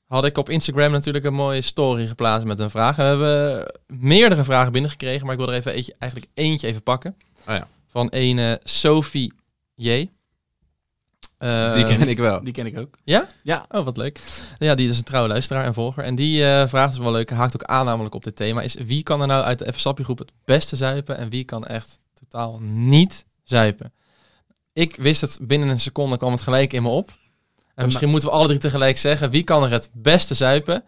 Had ik op Instagram natuurlijk een mooie story geplaatst met een vraag. En we hebben meerdere vragen binnengekregen, maar ik wil er even eentje, eigenlijk eentje even pakken. Oh ja. Van een eh, Sophie J. Eh, Die ken ik wel. Die ken ik ook. Ja? Ja. Oh, wat leuk. Ja, die is een trouwe luisteraar en volger. En die eh, vraagt is wel leuk, haakt ook aan namelijk op dit thema. Is wie kan er nou uit de FSAPI groep het beste zuipen en wie kan echt totaal niet zuipen? Ik wist het binnen een seconde, kwam het gelijk in me op. En misschien moeten we alle drie tegelijk zeggen, wie kan er het beste zuipen?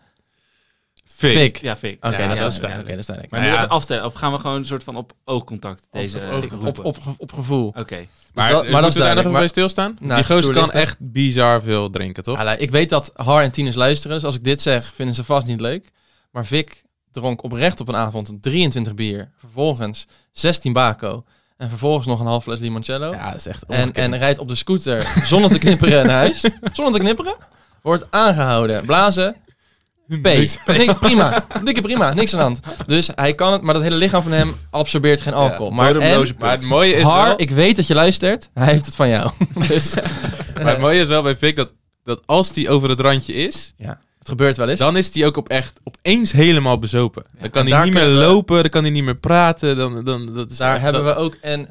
Fik. Fik. Ja, Fik. Oké, Ja, dat, dat is is duidelijk. duidelijk. Oké, dat is duidelijk. Maar Nou nu ja. even aftellen. Of gaan we gewoon een soort van op oogcontact deze eh, op, op, roepen? op, op, op gevoel. Oké. Maar, dat- maar, moeten we maar dat is daar nog duidelijk, even maar- bij stilstaan? Nou, die gozer kan toelichten. echt bizar veel drinken, toch? Allee, ik weet dat Har en Tinus luisteren, dus als ik dit zeg, vinden ze vast niet leuk. Maar Vic dronk oprecht op een avond 23 bier, vervolgens 16 bako en vervolgens nog een half fles limoncello. Ja, dat is echt en, ongekend. en rijdt op de scooter zonder te knipperen naar [laughs] huis. Zonder te knipperen. Wordt aangehouden. Blazen. P. Niks. Dik, prima. Dikke prima. Niks aan de hand. Dus hij kan het, maar dat hele lichaam van hem absorbeert geen alcohol. maar, en, maar het mooie is Har, wel, ik weet dat je luistert. Hij heeft het van jou. dus maar het mooie is wel bij Vic dat, dat als die over het randje is, ja, het gebeurt wel eens. dan is die ook op echt opeens helemaal bezopen. dan kan en hij daar niet meer kunnen we- lopen, dan kan hij niet meer praten. Dan, dan, dat is Daar echt- hebben we ook een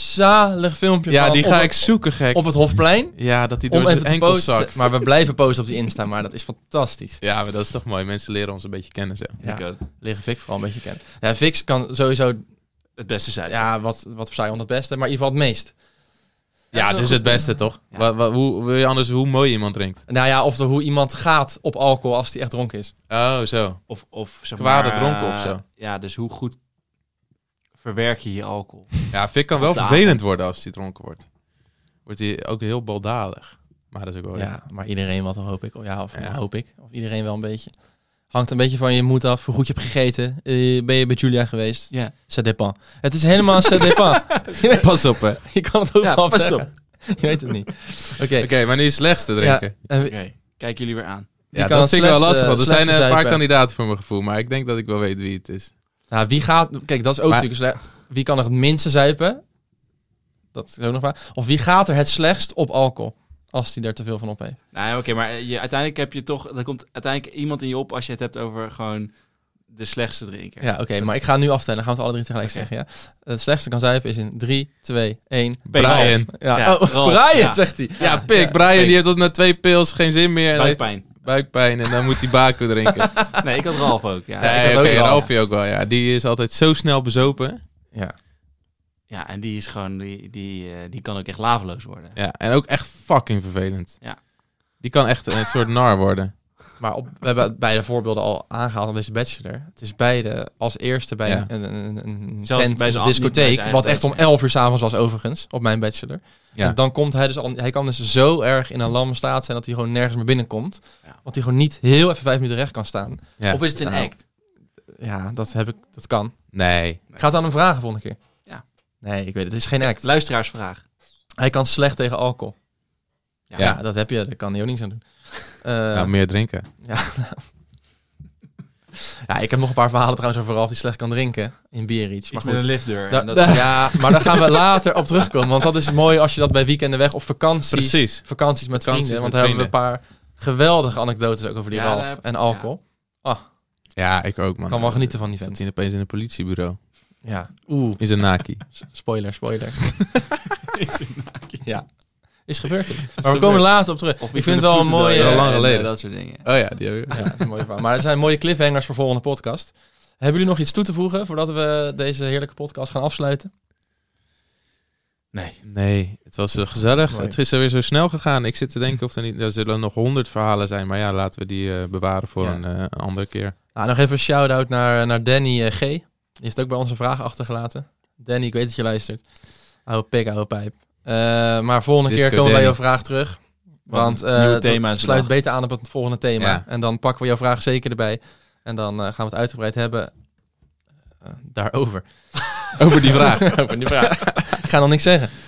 zalig filmpje Ja, van die op, ga het- ik zoeken, gek. op het Hofplein. ja, dat hij Om door zijn even te enkel posten. zakt. Maar we blijven posten op die Insta, maar dat is fantastisch. Ja, maar dat is toch mooi. Mensen leren ons een beetje kennen zo. Ja. Ik ook. Liggen Vic vooral een beetje kennen. Ja, Vix kan sowieso, Het beste zijn. ja, wat, wat verzaaien om het beste, maar in ieder geval het meest. Ja, dat is dit is wel het beste, toch? Ja. Wa- wa- hoe wil je anders hoe mooi iemand drinkt? Nou ja, of de, hoe iemand gaat op alcohol als die echt dronken is. Oh, zo. Of, of zeg Kwade maar, dronken eh, of zo. Ja, dus hoe goed verwerk je je alcohol? Ja, Vic kan wel Op de vervelend avond. worden als hij dronken wordt. Wordt hij ook heel baldadig. Maar dat is ook wel... Ja, maar iedereen wat, hoop ik. Ja, of Ja. hoop ik. Of iedereen wel een beetje. Hangt een beetje van je moed af, hoe goed je hebt gegeten. Eh, ben je bij Julia geweest? Ja. Ça dépend. Het is helemaal ça [laughs] dépend. Pas op, hè. Oké, Je kan het ook Ja, wel pas zeggen. [laughs] Je weet het niet. Oké. maar nu is het slechtste drinken. en Oké, kijk jullie weer aan. Die Ja, kan dat het vind ik wel lastig, slechtste- want er zijn eh, slechtste een paar zuipen. kandidaten voor mijn gevoel, maar ik denk dat ik wel weet wie het is. Nou, wie gaat... Kijk, dat is ook Maar- natuurlijk slecht. Wie kan er het minste zuipen? Dat is ook nog waar. Of wie gaat er het slechtst op alcohol? Als die er te veel van op heeft. Nou ja, oké, maar je, uiteindelijk heb je toch... Er komt uiteindelijk iemand in je op als je het hebt over gewoon de slechtste drinker. Ja, oké. maar ik ga nu aftellen. Gaan we het alle drie tegelijk Oké. zeggen, ja? Het slechtste kan zuipen is in 3, 2, 1... Brian. Ja, Ja, oh, Ralf. Brian, Ja. zegt hij. Ja, pik. Brian die heeft tot na twee pils geen zin meer. En heeft Buikpijn. buikpijn en dan moet hij Baku [laughs] drinken. Nee, ik had Ralf ook. Ja, nee, ik had oké, ook wel. Ralfie ook wel. Ja, die is altijd zo snel bezopen. Ja. ja en die is gewoon, die, die, eh, die kan ook echt laveloos worden. Ja, en ook echt fucking vervelend. Ja. Die kan echt een soort nar worden. Maar op, we hebben beide voorbeelden al aangehaald op deze bachelor. Het is beide als eerste bij Ja. een, een, een, een Zelfs tent, een bij zijn af- niet bij zijn discotheek. eigen Wat echt om bachelor. 11 uur s'avonds was overigens, op mijn bachelor. Ja. En dan komt hij dus al, hij kan dus zo erg in een lamme staat zijn dat hij gewoon nergens meer binnenkomt. Ja. Want hij gewoon niet heel even vijf minuten recht kan staan. Ja. Of is het een Nou, act? Ja, dat heb ik, dat kan. Nee. Ik ga het aan hem vragen volgende keer. Ja. Nee, ik weet het, het is geen act. Luisteraarsvraag. Hij kan slecht tegen alcohol. Ja. Ja, dat heb je, daar kan hij ook niks aan doen. Eh, nou, meer drinken. Ja, nou. ja, ik heb nog een paar verhalen trouwens over Ralf die slecht kan drinken in Bierich. Maar Iets met een goed. liftdeur. Da- en dat- da- ja, maar daar gaan we later op terugkomen. Want dat is mooi als je dat bij weekenden weg of vakanties, Precies. vakanties met Vakanties vrienden. met Want daar hebben we een paar geweldige anekdotes ook over die Ja, Ralf daar heb- en alcohol. Ja, ik ook, man. Kan wel genieten van die Zat vent. hij opeens in een politiebureau. Ja. Oeh, Is een Naki. s- spoiler, spoiler. ja, is gebeurd. [laughs] Maar we komen later op terug. Of ik vind het wel een mooie... Heel Lang lang geleden. geleden. Dat soort dingen. Oh ja, die hebben Ja, dat is een mooie verhaal. Maar het zijn mooie cliffhangers voor volgende podcast. Hebben jullie nog iets toe te voegen voordat we deze heerlijke podcast gaan afsluiten? Nee. Nee, het was eh, gezellig. Mooi. Het is er weer zo snel gegaan. Ik zit te denken of er niet... Er zullen nog honderd verhalen zijn. Maar ja, laten we die eh, bewaren voor Ja. een eh, een andere keer. Nou, nog even een shout-out naar, naar Danny eh, G. Die heeft ook bij ons een vraag achtergelaten. Danny, ik weet dat je luistert. Oude pik, oude pijp. Eh, maar volgende Disco keer komen wij Danny. jouw vraag terug. Want het nieuwe eh, thema dat is sluit bedacht. beter aan op het volgende thema. Ja. En dan pakken we jouw vraag zeker erbij. En dan eh, gaan we het uitgebreid hebben eh, daarover. Over die [laughs] vraag. Over die vraag. ik ga nog niks zeggen. [laughs]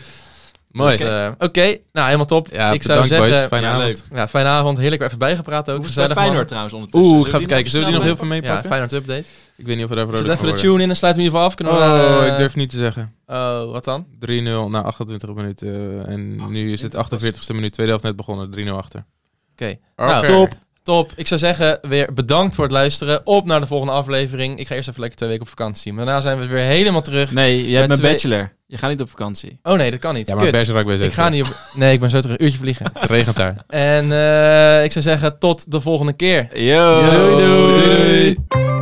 Mooi. Dus, eh, Oké, nou helemaal top. ja, ik zou bedankt, zeggen, boys. Fijne ja, avond. leuk. Ja, Dus fijne avond. Heerlijk weer even bijgepraat ook. Hoe is het bij Gezellig Feyenoord man. trouwens ondertussen? Oeh, ik ga even kijken. Zullen Zullen die nog heel veel snel Ja, meepakken? Feyenoord update. ik weet niet of we daar Zet vrolijk even van de worden. tune in en sluiten we in ieder geval af. Kunnen we, Oh, eh, ik durf niet te zeggen. Oh, wat dan? 3-0 na 28 minuten. eh, En nu is het 48e minuut. Tweede helft net begonnen. 3-0 achter. Oké. Oké. Nou, top. Top. Ik zou zeggen, weer bedankt voor het luisteren. Op naar de volgende aflevering. Ik ga eerst even lekker twee weken op vakantie. Maar daarna zijn we weer helemaal terug. Nee, jij Met bent twee- bachelor. Je gaat niet op vakantie. Oh nee, dat kan niet. Ja, maar Kut. Bergerac bij Ik ga niet op... Nee, ik ben zo terug. Een uurtje vliegen. [laughs] Het regent daar. en eh, ik zou zeggen, tot de volgende keer. Yo. Doei, doei.